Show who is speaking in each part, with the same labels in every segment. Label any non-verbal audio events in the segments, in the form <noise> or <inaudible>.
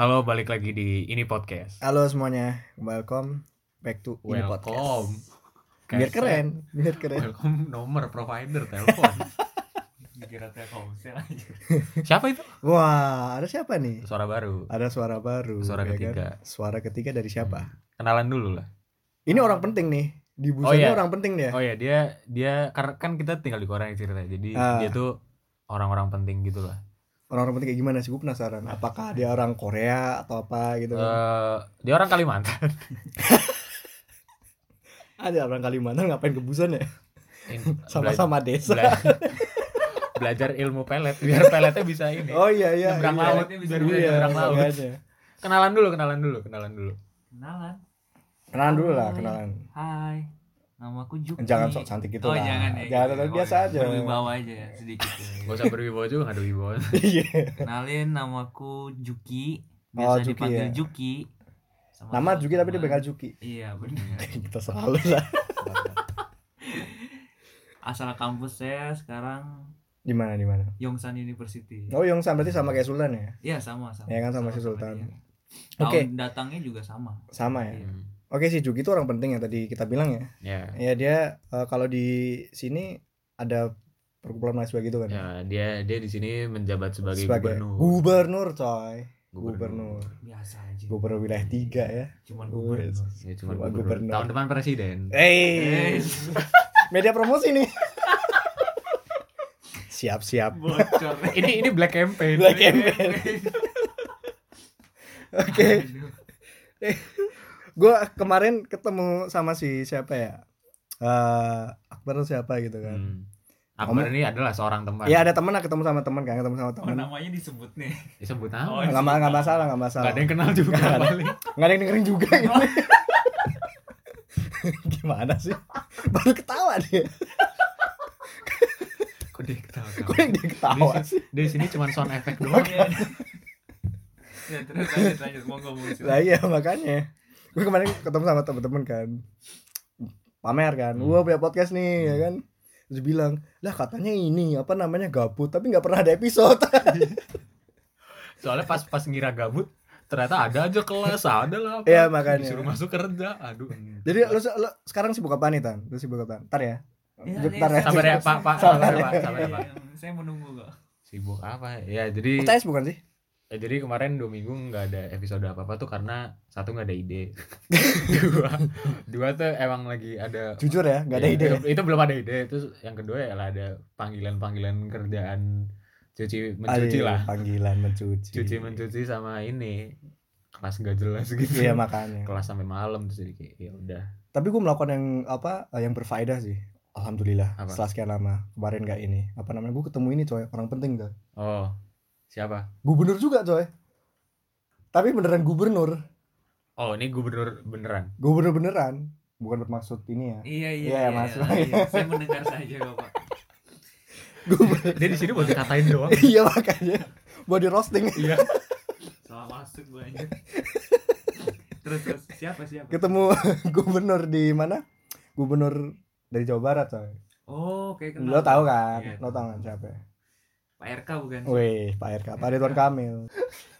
Speaker 1: Halo, balik lagi di ini podcast.
Speaker 2: Halo semuanya, welcome back to ini podcast.
Speaker 1: Welcome.
Speaker 2: Biar
Speaker 1: Kaset.
Speaker 2: keren, biar keren.
Speaker 1: Welcome nomor provider
Speaker 2: <laughs>
Speaker 1: telepon.
Speaker 3: Dikira Telkomsel aja.
Speaker 1: Siapa itu?
Speaker 2: Wah, ada siapa nih?
Speaker 1: Suara baru.
Speaker 2: Ada suara baru.
Speaker 1: Suara
Speaker 2: ya kan?
Speaker 1: ketiga.
Speaker 2: Suara ketiga dari siapa?
Speaker 1: Kenalan dulu lah.
Speaker 2: Ini orang penting nih. Di
Speaker 1: Oh, iya.
Speaker 2: busanya orang penting dia.
Speaker 1: Oh ya, dia dia karena kan kita tinggal di Korea cerita. Jadi
Speaker 2: Ah.
Speaker 1: dia tuh orang-orang penting gitu lah.
Speaker 2: Orang-orang penting kayak gimana sih? Gue penasaran. Apakah dia orang Korea atau apa gitu? kan?
Speaker 1: Eh, dia orang
Speaker 2: <laughs>
Speaker 1: Kalimantan.
Speaker 2: Ada orang Kalimantan ngapain ke Busan ya?
Speaker 1: In-
Speaker 2: Sama-sama desa.
Speaker 1: bela- <laughs> belajar ilmu pelet biar peletnya bisa ini.
Speaker 2: Oh iya iya.
Speaker 1: Nyebrang
Speaker 2: iya.
Speaker 1: lautnya bisa
Speaker 2: Iya,
Speaker 1: juga nyebrang laut.
Speaker 2: makanya.
Speaker 1: Kenalan dulu, kenalan dulu, kenalan dulu.
Speaker 3: Kenalan.
Speaker 2: Kenalan dulu
Speaker 1: Oh, iya.
Speaker 2: lah, kenalan. <laughs>
Speaker 3: Hai. Nama aku Juki.
Speaker 2: Jangan sok cantik gitu
Speaker 3: oh,
Speaker 2: lah.
Speaker 3: Jangan ya.
Speaker 2: Jangan, biasa aja.
Speaker 3: Berwibawa aja ya, sedikit.
Speaker 2: <laughs>
Speaker 1: Gak usah berwibawa juga gak ada wibawa.
Speaker 2: Iya.
Speaker 3: Kenalin namaku Juki.
Speaker 2: Oh,
Speaker 3: Biasa
Speaker 2: Juki
Speaker 3: dipanggil
Speaker 2: ya.
Speaker 3: Juki. Sama
Speaker 2: Nama Juki tapi dia
Speaker 3: teman-teman.
Speaker 2: bakal Juki.
Speaker 3: Iya, benar.
Speaker 2: <laughs> Kita selalu lah.
Speaker 3: Asal kampus saya sekarang
Speaker 2: Di mana di mana?
Speaker 3: Yongsan University.
Speaker 2: Oh Yongsan berarti sama kayak Sultan ya?
Speaker 3: Iya, sama sama.
Speaker 2: Ya kan, sama si Sultan.
Speaker 3: dia.
Speaker 2: Oke.
Speaker 3: Tahun datangnya juga sama. Iya,
Speaker 2: Sama ya.
Speaker 1: Hmm,
Speaker 2: Oke si Juki itu orang penting yang tadi kita bilang ya.
Speaker 1: Ya.
Speaker 2: Ya dia eh, kalau di sini ada perkumpulan mahasiswa gitu kan.
Speaker 1: Ya, dia dia di sini menjabat sebagai, gubernur.
Speaker 2: gubernur coy. Gubernur.
Speaker 3: Biasa aja.
Speaker 2: Gubernur wilayah tiga ya.
Speaker 3: Cuman
Speaker 2: Wes.
Speaker 3: gubernur.
Speaker 1: Ya, cuma
Speaker 2: Cuma
Speaker 1: gubernur.
Speaker 2: gubernur.
Speaker 1: Tahun depan presiden.
Speaker 2: Eh,
Speaker 3: Eh, <laughs>
Speaker 2: media promosi nih. <laughs> siap siap.
Speaker 3: bocor.
Speaker 1: ini ini black campaign.
Speaker 2: Black campaign. Oke.
Speaker 3: Aduh.
Speaker 2: Gua kemarin ketemu sama si siapa ya? Eh, Akbar siapa gitu kan.
Speaker 1: Hmm. Akbar ini adalah seorang teman.
Speaker 2: Ya ada temen lah ketemu sama temen kan, ketemu sama
Speaker 3: Oh
Speaker 2: temen.
Speaker 3: namanya disebut nih.
Speaker 1: Disebut nama.
Speaker 3: Oh,
Speaker 2: Nggak ma- nggak masalah, nggak masalah.
Speaker 1: Gak ada yang kenal juga
Speaker 2: iya. Nggak ada.
Speaker 1: paling.
Speaker 2: Nggak ada yang dengerin juga
Speaker 1: <laughs>
Speaker 2: gitu. <laughs> Gimana sih? Baru ketawa dia.
Speaker 1: Kok dia ketawa-ketawa?
Speaker 2: Kok yang dia ketawa
Speaker 1: Dia-
Speaker 2: sih?
Speaker 1: Dia di sini cuma sound effect doang.
Speaker 3: Oke. Iya. ya terus lanjut lanjut monggo monggo.
Speaker 2: Lah iya makanya. Gue kemarin ketemu sama temen-temen kan. Pamer kan.
Speaker 1: Hmm.
Speaker 2: Gua punya podcast nih ya kan. Terus bilang, lah katanya ini apa namanya gabut tapi nggak pernah ada episode. <laughs>
Speaker 1: Soalnya pas pas ngira gabut, ternyata ada aja kelas, ada lah. apa.
Speaker 2: Iya, makanya.
Speaker 1: Disuruh masuk kerja. Aduh. hmm.
Speaker 2: Jadi lo, lo sekarang sibuk apaan nih Tan? Lo sibuk apaan? Ntar ya. Juk, Ntar ya. <laughs>
Speaker 1: Sabar ya, Pak, Pak. Sabar ya, Pak. Sabar ya, Pak.
Speaker 3: Saya menunggu kok.
Speaker 1: Sibuk apa? Ya, jadi
Speaker 2: UTS bukan sih?
Speaker 1: Eh, jadi kemarin dua minggu nggak ada episode apa apa tuh karena satu nggak ada
Speaker 2: <laughs>
Speaker 1: ide, dua dua tuh emang lagi ada
Speaker 2: Jujur ya, nggak ada
Speaker 1: Ya,
Speaker 2: ide.
Speaker 1: Itu, itu belum ada ide. Terus yang kedua ya lah ada panggilan panggilan kerjaan cuci mencuci
Speaker 2: Aduh,
Speaker 1: lah,
Speaker 2: Panggilan mencuci.
Speaker 1: cuci mencuci sama ini kelas gak jelas gitu.
Speaker 2: Iya makanya.
Speaker 1: kelas sampai malam terus jadi kayak ya udah.
Speaker 2: tapi gue melakukan yang apa eh, yang berfaedah sih alhamdulillah
Speaker 1: Apa?
Speaker 2: setelah sekian lama kemarin gak ini apa namanya gue ketemu ini coy orang penting tuh
Speaker 1: Oh siapa?
Speaker 2: gubernur juga coy tapi beneran gubernur
Speaker 1: Oh ini gubernur beneran.
Speaker 2: gubernur beneran bukan bermaksud ini ya
Speaker 3: Iya iya.
Speaker 2: Iya, Mas.
Speaker 3: iya. Saya mendengar saja kok Pak.
Speaker 2: gubernur
Speaker 1: Dia di sini buat dikatain
Speaker 2: <laughs>
Speaker 1: doang.
Speaker 2: iya makanya body roasting
Speaker 1: Iya.
Speaker 3: Salah masuk gue aja. Terus terus siapa siapa?
Speaker 2: ketemu <laughs> gubernur di mana gubernur dari Jawa Barat coy
Speaker 3: Oh oke
Speaker 2: lo
Speaker 3: kenal.
Speaker 2: tau kan
Speaker 3: Iya,
Speaker 2: lo tau kan Oh. siapa ya?
Speaker 3: Pak RK bukan?
Speaker 2: Weh, Pak RK, Pak Ridwan Kamil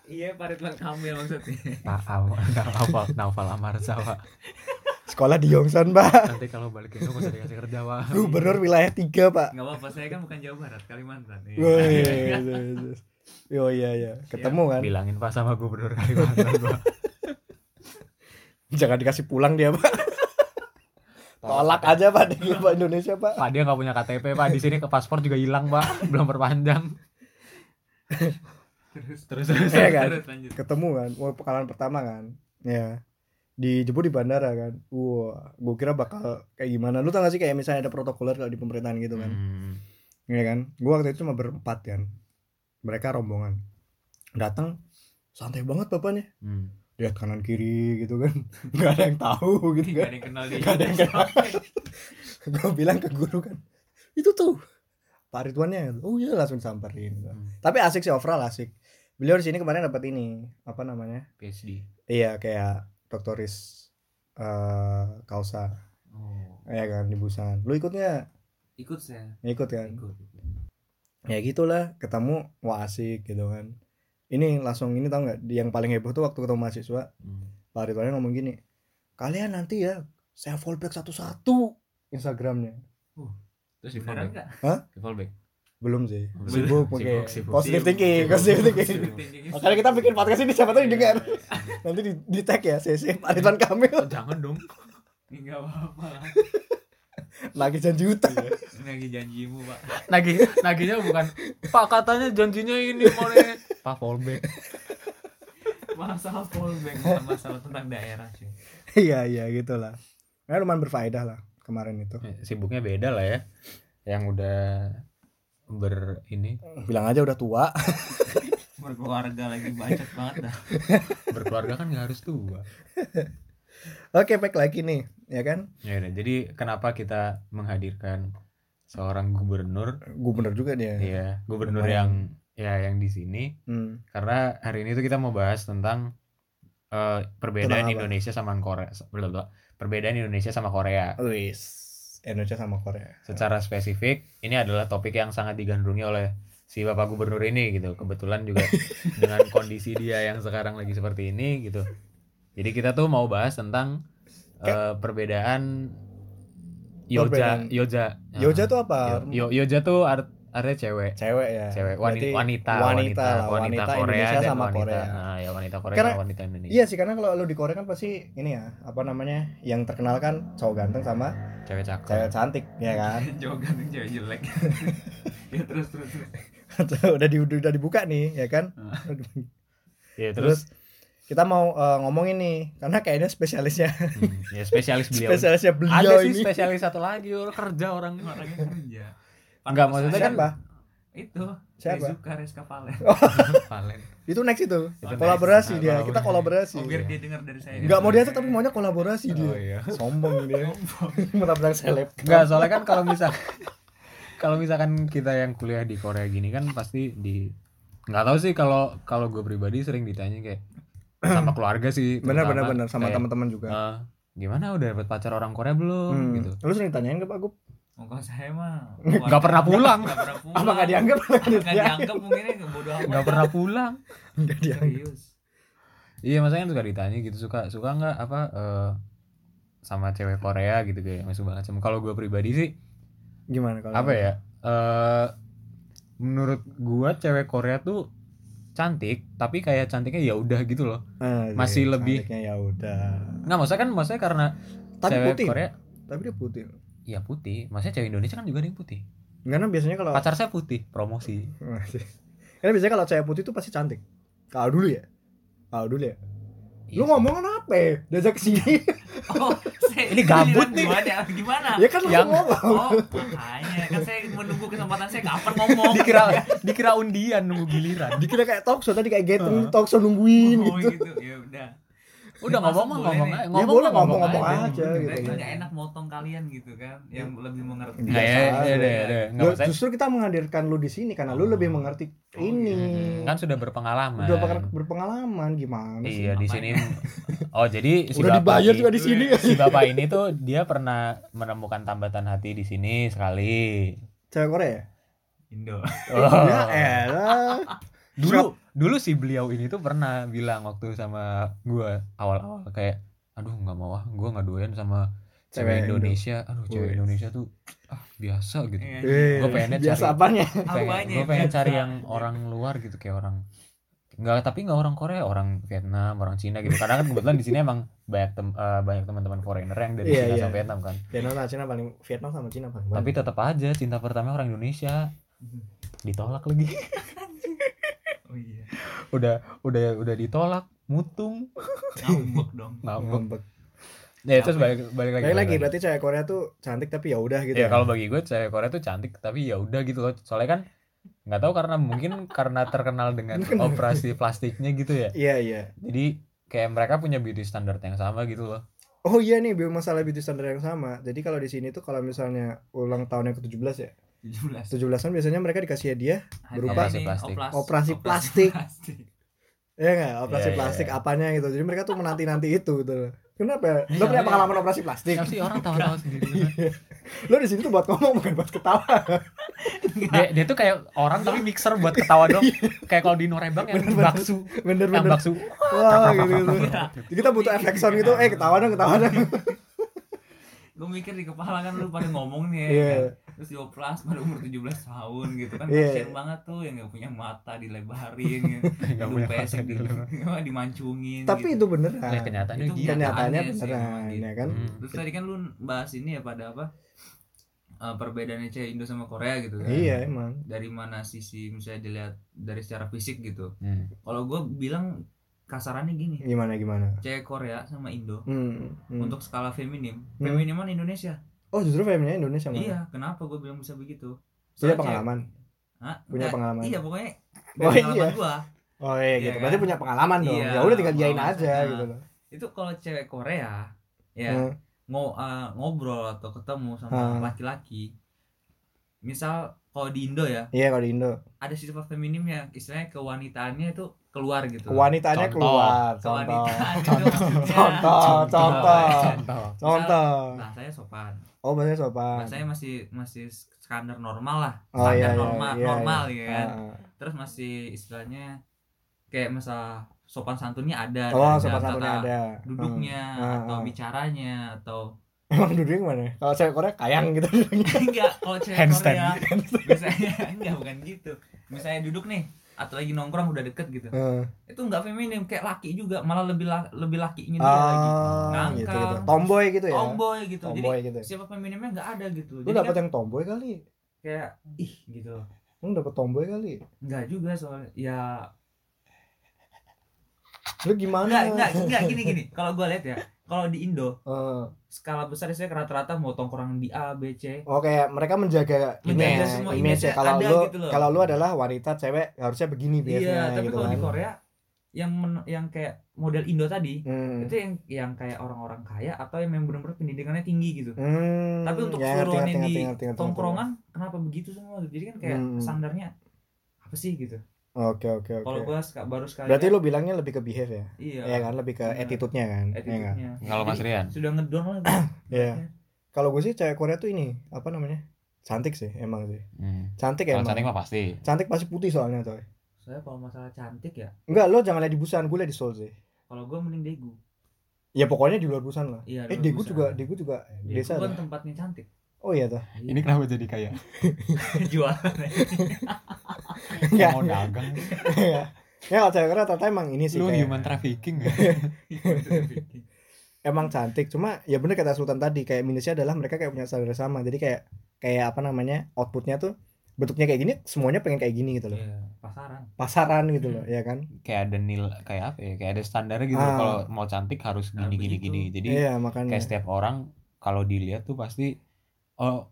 Speaker 3: Iya Pak Ridwan Kamil maksudnya.
Speaker 1: Naufal, naufal, naufal Amar Zawa.
Speaker 2: Sekolah di Yongsan,
Speaker 1: <laughs>
Speaker 2: Pak
Speaker 1: Nanti kalau balik ke Indo dikasih kerja wah.
Speaker 2: Gubernur wilayah 3, Pak
Speaker 3: Enggak apa-apa saya kan bukan Jawa Barat Kalimantan. Iya. <laughs>
Speaker 2: Woi, yo iya iya, ketemu kan?
Speaker 1: bilangin pak sama gubernur Kalimantan gua
Speaker 2: Jangan dikasih pulang dia pak. <laughs> Tolak aja pak di Pak Indonesia pak.
Speaker 1: pak dia nggak punya KTP pak di sini ke paspor juga hilang pak belum perpanjang
Speaker 3: Terus
Speaker 1: terus terus
Speaker 2: Iya kan?
Speaker 3: terus lanjut.
Speaker 2: Ketemu kan, wah pekalan pertama kan. Ya, dijemput di bandara kan. Wah, gue kira bakal kayak gimana. Lu tau gak sih kayak misalnya ada protokoler kalau di pemerintahan gitu kan?
Speaker 1: Hmm.
Speaker 2: Iya kan? Gue waktu itu cuma berempat kan. Mereka rombongan. Datang, santai banget bapaknya.
Speaker 1: Hmm.
Speaker 2: Lihat kanan kiri gitu kan. <laughs> Gak ada yang tahu gitu
Speaker 3: Enggak
Speaker 2: kan.
Speaker 3: ada yang kenal dia.
Speaker 2: Gak ada yang kenal. <laughs> gue bilang ke guru kan itu tuh Pak Ridwannya oh iya langsung samperin
Speaker 1: Hmm.
Speaker 2: tapi asik sih overall asik beliau di sini kemarin dapat ini apa namanya
Speaker 1: PSD
Speaker 2: iya kayak doktoris eh kausa
Speaker 3: Oh,
Speaker 2: ya kan di Busan lu ikutnya
Speaker 3: ikut saya.
Speaker 2: ikut kan
Speaker 3: Ikut.
Speaker 2: ya gitulah ketemu wah asik gitu kan ini langsung ini tau nggak yang paling heboh tuh waktu ketemu mahasiswa
Speaker 1: Hmm.
Speaker 2: Pak Ridwannya ngomong gini kalian nanti ya saya follow back satu-satu Instagramnya
Speaker 1: Terus di
Speaker 3: Beneran
Speaker 1: fallback,
Speaker 3: nggak?
Speaker 1: di fallback.
Speaker 2: belum sih
Speaker 1: Belum. Sibuk,
Speaker 2: sibuk pakai
Speaker 1: sibuk.
Speaker 2: positive
Speaker 3: Sibuk,
Speaker 2: thinking
Speaker 3: sibuk,
Speaker 2: positive
Speaker 3: sibuk,
Speaker 2: thinking
Speaker 3: sibuk thinking.
Speaker 2: <laughs> makanya kita bikin podcast ini siapa tahu didengar nanti di, di tag ya CC Pak Ridwan Kamil
Speaker 1: Oh, jangan dong.
Speaker 3: Enggak apa-apa lah.
Speaker 2: lagi janji utang
Speaker 1: Iya.
Speaker 3: Ini lagi janjimu, Pak.
Speaker 1: Nagih, nagihnya bukan Pak katanya janjinya ini mau nih." Pak fallback.
Speaker 3: Masalah fallback bukan masalah tentang daerah sih.
Speaker 2: iya iya gitulah ya lumayan berfaedah lah kemarin itu
Speaker 1: Eh, Sibuknya beda lah ya. Yang udah ber ini
Speaker 2: bilang aja udah tua
Speaker 3: Berkeluarga lagi bacot banget dah. <laughs>
Speaker 1: berkeluarga kan nggak harus tua.
Speaker 2: oke back lagi nih ya kan
Speaker 1: Ya udah, jadi kenapa kita menghadirkan seorang gubernur
Speaker 2: gubernur juga dia
Speaker 1: ya, gubernur
Speaker 2: Iya.
Speaker 1: yang
Speaker 2: Lumayan.
Speaker 1: ya yang di sini
Speaker 2: Hmm.
Speaker 1: karena hari ini tuh kita mau bahas tentang eh, perbedaan
Speaker 2: Tentang apa?
Speaker 1: Indonesia sama Korea perbedaan Indonesia sama Korea
Speaker 2: Wis. Indonesia sama Korea
Speaker 1: secara spesifik ini adalah topik yang sangat digandrungi oleh si bapak gubernur ini gitu kebetulan
Speaker 2: <laughs>
Speaker 1: juga dengan kondisi dia yang sekarang lagi seperti ini gitu jadi kita tuh mau bahas tentang eh, perbedaan yoja
Speaker 2: Perbedaan-
Speaker 1: yoja
Speaker 2: Yoja tuh apa
Speaker 1: Yo- yo- yoja tuh art artinya cewek
Speaker 2: cewek ya
Speaker 1: cewek
Speaker 2: Berarti
Speaker 1: wanita wanita
Speaker 2: wanita lah,
Speaker 1: wanita,
Speaker 2: wanita
Speaker 1: Korea
Speaker 2: Indonesia
Speaker 1: dan
Speaker 2: sama
Speaker 1: wanita,
Speaker 2: Korea.
Speaker 1: Nah, ya wanita Korea
Speaker 2: Karena-
Speaker 1: sama wanita Indonesia
Speaker 2: Iya sih karena kalau lu di Korea kan pasti ini ya apa namanya yang terkenal kan cowok ganteng sama
Speaker 1: cewek cakep
Speaker 2: cewek cantik ya kan
Speaker 3: Jogan yang cewek jelek. <laughs> ya terus terus. terus.
Speaker 2: udah di udah dibuka nih ya kan
Speaker 1: ya terus,
Speaker 2: terus, kita mau eh, ngomongin nih karena kayaknya spesialisnya
Speaker 1: hmm, ya spesialis beliau
Speaker 2: spesialisnya
Speaker 1: ada
Speaker 2: beliau
Speaker 1: sih
Speaker 2: ini
Speaker 1: spesialis satu lagi orang kerja orang
Speaker 3: Orangnya kerja.
Speaker 1: Enggak, maksudnya kan-
Speaker 2: siapa
Speaker 3: itu
Speaker 2: Siapa? Oh,
Speaker 3: Rizuka Reska Palen.
Speaker 1: Valen
Speaker 2: itu next itu
Speaker 1: next. Nah,
Speaker 2: kolaborasi dia kita
Speaker 1: kolaborasi.
Speaker 2: kolaborasi
Speaker 3: Oh, biar dia dengar dari saya.
Speaker 2: iya. nggak mau dia tetap maunya kolaborasi dia
Speaker 1: Oh, iya.
Speaker 2: sombong
Speaker 1: <laughs>
Speaker 2: dia menabrak seleb
Speaker 1: Enggak, soalnya kan kalau misal <laughs> kalau misalkan kita yang kuliah di Korea gini kan pasti di nggak tahu sih kalau kalau gue pribadi sering ditanya kayak sama keluarga sih
Speaker 2: benar benar
Speaker 1: terutama,
Speaker 2: benar sama
Speaker 1: kayak,
Speaker 2: teman-teman juga
Speaker 1: "Eh, gimana udah dapet pacar orang Korea belum
Speaker 2: Hmm.
Speaker 1: gitu Iya.
Speaker 2: lu sering tanyain ke Pak Gup
Speaker 3: Oh, kalau saya mah
Speaker 1: Nggak pernah pulang.
Speaker 3: Enggak pernah pulang.
Speaker 2: apa nggak dianggap
Speaker 3: Nggak dianggap mungkin ya bodoh amat.
Speaker 1: nggak pernah pulang
Speaker 2: nggak dianggap
Speaker 3: serius.
Speaker 1: iya maksudnya kan suka ditanya gitu suka suka nggak apa eh, sama cewek Korea gitu kayak masuk banget sama kalau gue pribadi sih
Speaker 2: gimana kalau
Speaker 1: apa ya eh menurut gua cewek Korea tuh cantik tapi kayak cantiknya ya udah gitu loh
Speaker 2: Ah,
Speaker 1: Masih
Speaker 2: iya,
Speaker 1: lebih-
Speaker 2: cantiknya ya udah
Speaker 1: nggak maksudnya kan maksudnya karena
Speaker 2: tapi
Speaker 1: cewek
Speaker 2: putih
Speaker 1: Korea
Speaker 2: tapi dia putih
Speaker 1: ya putih maksudnya cewek Indonesia kan juga ada yang putih
Speaker 2: karena biasanya kalau
Speaker 1: pacar saya putih promosi
Speaker 2: Masih. Nah, karena biasanya kalau cewek putih tuh pasti cantik kalau dulu ya kalau dulu ya lu
Speaker 1: Iya.
Speaker 2: ngomong apa ya? diajak ke
Speaker 1: <laughs>
Speaker 2: sini
Speaker 3: Oh, saya,
Speaker 1: Ini gabut nih.
Speaker 3: Gimana? gimana?
Speaker 2: ya kan lu
Speaker 1: Yang-
Speaker 2: ngomong
Speaker 3: Oh, makanya kan saya menunggu kesempatan saya kapan ngomong.
Speaker 1: <laughs>
Speaker 3: Kan
Speaker 1: dikira <laughs> dikira undian nunggu giliran
Speaker 2: dikira kayak talkshow tadi kayak
Speaker 1: Heeh.
Speaker 2: getting talkshow nungguin
Speaker 3: Oh,
Speaker 2: gitu
Speaker 3: gitu. Ya udah.
Speaker 1: udah ngomong mah
Speaker 3: Masuk boleh
Speaker 1: ngomong
Speaker 3: nih.
Speaker 1: aja
Speaker 2: Ya,
Speaker 1: ngomong
Speaker 2: boleh
Speaker 1: mah ngomong
Speaker 2: ngomong-ngomong
Speaker 1: aja
Speaker 2: aja, gitu.
Speaker 3: Saya kan. nggak enak motong kalian gitu kan, yang lebih mengerti.
Speaker 1: Nah, ya,
Speaker 2: Biasa
Speaker 1: ya,
Speaker 2: aja.
Speaker 1: ya, ya. Nggak,
Speaker 2: Lu-
Speaker 1: maksudnya
Speaker 2: justru kita menghadirkan lu di sini karena lu
Speaker 1: Oh.
Speaker 2: lebih mengerti
Speaker 3: Oh,
Speaker 2: ini
Speaker 1: kan sudah berpengalaman
Speaker 2: udah bakal berpengalaman gimana sih
Speaker 1: iya di
Speaker 3: Makanya.
Speaker 1: sini oh
Speaker 2: <laughs>
Speaker 1: jadi si
Speaker 2: udah
Speaker 1: bapak
Speaker 2: dibayar
Speaker 1: i-
Speaker 2: juga di sini
Speaker 1: si bapak ini tuh dia pernah menemukan tambatan hati di sini sekali
Speaker 2: cewek Korea
Speaker 3: Indo.
Speaker 1: Oh.
Speaker 2: ya elah
Speaker 1: dulu dulu si beliau ini tuh pernah bilang waktu sama gua awal-awal kayak aduh nggak mau ah gua nggak doyan sama
Speaker 2: Cewek
Speaker 1: cewek
Speaker 2: Indo.
Speaker 1: Indonesia aduh cewek
Speaker 2: Wih.
Speaker 1: Indonesia tuh ah biasa gitu
Speaker 3: Iya.
Speaker 2: Eh,
Speaker 1: Gua pengennya
Speaker 2: biasa
Speaker 1: cari-
Speaker 2: apanya
Speaker 1: pengen,
Speaker 3: Apanya
Speaker 1: gua pengen
Speaker 2: <laughs>
Speaker 3: biasa?
Speaker 1: cari yang orang luar gitu kayak orang nggak tapi nggak orang Korea orang Vietnam orang Cina gitu karena kan kebetulan di sini emang banyak tem- eh, banyak teman-teman foreigner yang dari
Speaker 2: Iya,
Speaker 1: Cina
Speaker 2: iya.
Speaker 1: sama Vietnam kan
Speaker 2: Vietnam sama Cina paling Vietnam sama Cina paling
Speaker 1: tapi tetap aja cinta pertama orang Indonesia ditolak lagi <laughs>
Speaker 3: Oh iya.
Speaker 1: udah udah udah ditolak mutung
Speaker 3: Ngambek dong.
Speaker 1: ngambek
Speaker 2: ngambek
Speaker 1: ya terus balik balik lagi
Speaker 2: Balik lagi berarti cewek Korea tuh cantik tapi ya udah gitu.
Speaker 1: ya kalau bagi gue cewek Korea tuh cantik tapi ya udah gitu loh soalnya kan nggak tahu karena mungkin karena terkenal <laughs> dengan operasi plastiknya gitu ya
Speaker 2: Iya iya.
Speaker 1: jadi kayak mereka punya beauty standard yang sama gitu loh
Speaker 2: Oh iya nih biar masalah beauty standar yang sama. Jadi kalau di sini tuh kalau misalnya ulang tahun yang ke-17 ya.
Speaker 3: 17.
Speaker 2: 17-an biasanya mereka dikasih hadiah
Speaker 1: Berupa-
Speaker 3: Hari ini
Speaker 1: Operasi
Speaker 3: oplas-
Speaker 2: operasi
Speaker 3: <laughs>
Speaker 2: plastik.
Speaker 3: plastik.
Speaker 2: Ya enggak? Operasi
Speaker 1: Iya, iya,
Speaker 2: plastik
Speaker 1: iya.
Speaker 2: apanya gitu. Jadi mereka tuh menanti-nanti itu gitu. loh. Kenapa? ya?
Speaker 1: Iya,
Speaker 2: Lo punya
Speaker 1: iya.
Speaker 2: pengalaman operasi plastik? Iya.
Speaker 1: Tapi orang tahu-tahu sendiri
Speaker 2: Lo di sini tuh buat ngomong bukan buat ketawa.
Speaker 1: dia, dia tuh kayak orang tapi mixer buat ketawa dong kayak kalau di Norebang yang
Speaker 2: Iya. Bener-bener.
Speaker 1: bakso
Speaker 2: bener
Speaker 1: yang
Speaker 2: bener
Speaker 1: bakso
Speaker 2: wah gitu gitu
Speaker 3: Iya.
Speaker 2: Jadi kita butuh efek sound gitu eh ketawa dong ketawa dong
Speaker 3: gue mikir di kepala kan lu pada ngomong nih ya,
Speaker 2: Iya.
Speaker 3: kan? terus dioplas pada umur 17 tahun gitu kan
Speaker 2: Iya.
Speaker 3: kasihan banget tuh yang gak punya mata dilebarin gitu.
Speaker 1: Nggak
Speaker 3: hidung
Speaker 1: punya gitu.
Speaker 3: pesek
Speaker 1: mata
Speaker 3: di, <laughs>
Speaker 1: dilebarin.
Speaker 3: dimancungin
Speaker 2: tapi
Speaker 3: gitu.
Speaker 2: itu beneran Iya,
Speaker 1: Nah, kenyataannya
Speaker 3: Itu
Speaker 1: gitu.
Speaker 2: kenyataannya
Speaker 3: Kenyataannya sih
Speaker 2: beneran
Speaker 3: emang gitu.
Speaker 2: ya kan
Speaker 1: Hmm.
Speaker 3: terus tadi kan lu bahas ini ya pada apa eh, perbedaannya cewek Indo sama Korea gitu kan
Speaker 2: iya emang
Speaker 3: dari mana sisi misalnya dilihat dari secara fisik gitu
Speaker 1: Hmm.
Speaker 3: kalau gue bilang kasarannya gini
Speaker 2: gimana gimana
Speaker 3: cewek Korea sama Indo
Speaker 2: Hmm, Iya. hmm.
Speaker 3: untuk skala feminim
Speaker 2: Hmm.
Speaker 3: feminiman Indonesia
Speaker 2: oh justru filmnya Indonesia malah.
Speaker 3: Iya, kenapa gue bilang bisa begitu?
Speaker 2: punya
Speaker 3: Soalnya
Speaker 2: pengalaman
Speaker 3: cewek- Hah?
Speaker 2: punya
Speaker 1: Nah,
Speaker 3: Nggak,
Speaker 2: pengalaman.
Speaker 3: Iya, pokoknya dari
Speaker 2: Oh,
Speaker 3: pengalaman
Speaker 2: iya.
Speaker 3: gua.
Speaker 2: oh iya
Speaker 3: Iya
Speaker 2: gitu
Speaker 3: kan?
Speaker 2: berarti punya pengalaman dong
Speaker 3: Iya,
Speaker 2: ya udah tinggal jain
Speaker 3: pengalaman
Speaker 2: aja
Speaker 3: sana.
Speaker 2: gitu loh
Speaker 3: Itu kalau cewek Korea ya
Speaker 2: Hmm.
Speaker 3: ngo- eh, ngobrol atau ketemu
Speaker 2: Hmm.
Speaker 3: sama laki-laki. Misal kalau di Indo ya,
Speaker 2: iya kalau di Indo
Speaker 3: ada sifat feminimnya, istilahnya kewanitaannya itu keluar gitu. Iya.
Speaker 2: kewanitaannya
Speaker 1: Contoh.
Speaker 2: keluar contoh
Speaker 3: Kewanitaan itu <laughs>
Speaker 2: contoh
Speaker 3: maksudnya.
Speaker 2: contoh contoh
Speaker 1: contoh
Speaker 2: contoh
Speaker 3: Bahasanya Nah, sopan.
Speaker 2: oh bahasanya sopan
Speaker 3: Bahasanya masih masih standar normal lah.
Speaker 2: oh iya
Speaker 3: standar
Speaker 2: iya
Speaker 3: normal
Speaker 2: iya,
Speaker 3: normal
Speaker 2: iya.
Speaker 3: ya kan.
Speaker 2: Ah,
Speaker 3: terus masih istilahnya kayak masalah sopan santunnya
Speaker 2: ah.
Speaker 3: ada
Speaker 2: oh sopan
Speaker 3: dari dalam
Speaker 2: santunnya
Speaker 3: tata
Speaker 2: ada
Speaker 3: duduknya
Speaker 2: Ah,
Speaker 3: atau
Speaker 2: ah.
Speaker 3: bicaranya atau <laughs>
Speaker 2: Hmm. <laughs> emang duduknya gimana kalau cewek Korea kayang
Speaker 3: Hmm.
Speaker 2: gitu <laughs> duduknya
Speaker 3: enggak kalau cewek
Speaker 1: Handstand.
Speaker 3: Korea biasanya <laughs> enggak bukan gitu misalnya duduk nih atau lagi nongkrong udah deket gitu
Speaker 2: Heeh.
Speaker 3: itu enggak feminim kayak laki juga malah lebih la- lebih lakinya dia lagi
Speaker 2: ah
Speaker 3: Nangkal.
Speaker 2: gitu gitu tomboy gitu ya
Speaker 3: tomboy gitu
Speaker 2: tomboy
Speaker 3: jadi
Speaker 2: gitu
Speaker 3: siapa feminimnya enggak ada gitu
Speaker 2: lu
Speaker 3: jadi
Speaker 2: dapet
Speaker 3: kan
Speaker 2: yang tomboy kali
Speaker 3: kayak ih gitu
Speaker 2: lu dapet tomboy kali
Speaker 3: enggak juga soalnya ya
Speaker 2: lu gimana
Speaker 3: enggak enggak enggak gini gini kalau gua lihat ya kalau di Indo
Speaker 2: Eh,
Speaker 3: skala besar saya rata-rata mau tongkrong di A, B, C.
Speaker 2: oh kayak mereka menjaga
Speaker 3: Menjaga
Speaker 2: image,
Speaker 3: semua
Speaker 2: image ya
Speaker 3: image-nya
Speaker 2: kalau
Speaker 3: ada
Speaker 2: lu
Speaker 3: gitu loh.
Speaker 2: kalau lu adalah wanita cewek ya harusnya begini
Speaker 3: Iya,
Speaker 2: biasanya
Speaker 3: tapi
Speaker 2: gitu
Speaker 3: kalau
Speaker 2: kan
Speaker 3: di Korea yang men- yang kayak model Indo tadi
Speaker 2: Hmm.
Speaker 3: itu yang yang kayak orang-orang kaya atau yang memang benar-benar pendidikannya tinggi gitu.
Speaker 2: Hmm,
Speaker 3: Tapi untuk
Speaker 2: ngerti, ngerti,
Speaker 3: seluruhannya di
Speaker 2: ngerti, ngerti, ngerti.
Speaker 3: Tongkrongan kenapa begitu semua? Jadi kan kayak
Speaker 2: Hmm.
Speaker 3: standarnya apa sih gitu.
Speaker 2: Oke oke oke.
Speaker 3: Kalau gua ska- baru sekali
Speaker 2: Berarti
Speaker 3: lihat,
Speaker 2: lu bilangnya lebih ke behave ya?
Speaker 3: iya,
Speaker 2: Iya kan, lebih ke
Speaker 3: Bener.
Speaker 2: attitude-nya kan? Iya nggak?
Speaker 3: attitude-nya.
Speaker 1: kalau Mas
Speaker 3: Jadi,
Speaker 1: Rian
Speaker 3: sudah ngedown lah.
Speaker 2: <clears throat> Iya. Kalau gue sih cewek Korea tuh ini, apa namanya? Cantik sih, emang sih.
Speaker 1: hmm.
Speaker 2: Cantik ya
Speaker 1: kalau
Speaker 2: emang.
Speaker 1: cantik
Speaker 2: Cantik,
Speaker 1: mah pasti
Speaker 2: pasti putih soalnya coy.
Speaker 3: Saya kalau masalah cantik ya,
Speaker 2: Enggak, lo jangan lihat di Busan, gue lihat di Seoul sih.
Speaker 3: kalau gua mending Daegu.
Speaker 2: Ya pokoknya di luar Busan lah.
Speaker 3: Iya,
Speaker 2: Eh,
Speaker 3: luar
Speaker 2: Daegu
Speaker 3: Busan.
Speaker 2: juga, Daegu juga
Speaker 3: Daegu
Speaker 2: desa.
Speaker 3: kan
Speaker 2: tuh.
Speaker 3: tempatnya cantik. Iya,
Speaker 2: Oh iya tuh.
Speaker 1: <laughs> ini kenapa jadi
Speaker 2: <laughs>
Speaker 1: kayak
Speaker 3: <laughs> jualan.
Speaker 2: Enggak.
Speaker 1: mau dagang
Speaker 2: Iya. Ya kalau cewek Korea ternyata emang ini sih
Speaker 1: lu
Speaker 2: kayak,
Speaker 1: human trafficking ya
Speaker 2: <laughs> emang cantik. Cuma ya bener kata Sultan tadi, kayak minusnya adalah mereka kayak punya saudara sama. Jadi kayak kayak apa namanya? outputnya tuh bentuknya kayak gini, semuanya pengen kayak gini gitu loh.
Speaker 3: Iya, pasaran.
Speaker 2: Pasaran gitu
Speaker 1: Hmm.
Speaker 2: loh, ya kan?
Speaker 1: kayak ada nil kayak apa ya kayak ada standarnya gitu
Speaker 2: Ah.
Speaker 1: kalau mau cantik harus
Speaker 3: Nah,
Speaker 1: gini gini
Speaker 3: begitu.
Speaker 1: gini jadi
Speaker 2: Iya makanya.
Speaker 1: kayak setiap orang kalau dilihat tuh pasti oh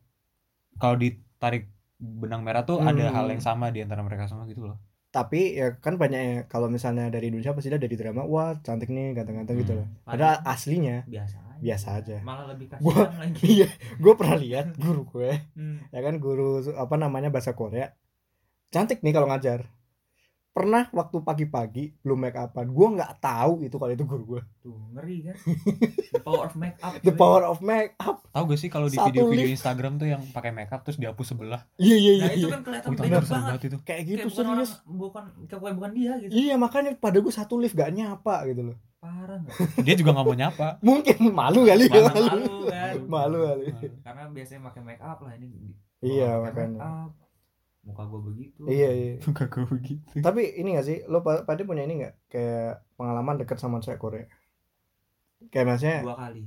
Speaker 1: kalau ditarik benang merah tuh ada
Speaker 2: Hmm.
Speaker 1: hal yang sama di antara mereka semua gitu loh
Speaker 2: Tapi ya kan banyak ya kalau misalnya dari Indonesia pasti ada dari drama wah cantik nih ganteng-ganteng gitu
Speaker 1: Hmm.
Speaker 2: loh. Ada aslinya. <laughs>
Speaker 3: biasa aja.
Speaker 2: Biasa aja.
Speaker 3: Malah lebih
Speaker 2: Gua-
Speaker 3: kasihan lagi.
Speaker 2: <laughs> Iya, gue pernah lihat guru gue
Speaker 3: Hmm.
Speaker 2: ya kan guru apa namanya bahasa Korea cantik nih kalau ngajar. Pernah waktu pagi-pagi belum make upan, gue nggak tahu itu kalau itu guru gue.
Speaker 3: Tuh, ngeri
Speaker 2: <laughs>
Speaker 3: kan. The power of make up.
Speaker 2: The
Speaker 3: cuy.
Speaker 2: power of make up.
Speaker 1: tahu gak sih kalau di
Speaker 2: Satu
Speaker 1: video-video
Speaker 2: lift.
Speaker 1: Instagram tuh yang pakai makeup terus dihapus sebelah
Speaker 2: Iya iya iya,
Speaker 3: Nah, itu
Speaker 2: iya.
Speaker 3: kan kelihatan
Speaker 1: oh, itu
Speaker 3: beda
Speaker 1: bener seru
Speaker 3: banget.
Speaker 1: banget itu
Speaker 2: Kayak
Speaker 3: Kayak
Speaker 2: gitu
Speaker 3: bukan orang,
Speaker 2: serius.
Speaker 3: bukan kayak bukan- bukan dia gitu.
Speaker 2: Iya makanya pada gue satu lift gak nyapa gitu loh.
Speaker 3: Parah nggak?
Speaker 1: dia juga nggak mau <laughs> nyapa
Speaker 2: Mungkin <laughs> malu kali
Speaker 1: Malu,
Speaker 2: ya.
Speaker 3: Malu,
Speaker 2: <laughs>
Speaker 3: kan.
Speaker 2: Malu kali.
Speaker 3: Karena biasanya pakai make up lah ini.
Speaker 2: Iya
Speaker 3: Pakai
Speaker 2: makanya.
Speaker 3: make up. Muka gua begitu.
Speaker 2: Iya iya.
Speaker 1: bukan gue begitu
Speaker 2: Tapi ini gak sih, lo pa- pada punya ini gak? Kayak pengalaman deket sama cewek Korea Kayak maksudnya,
Speaker 3: Dua kali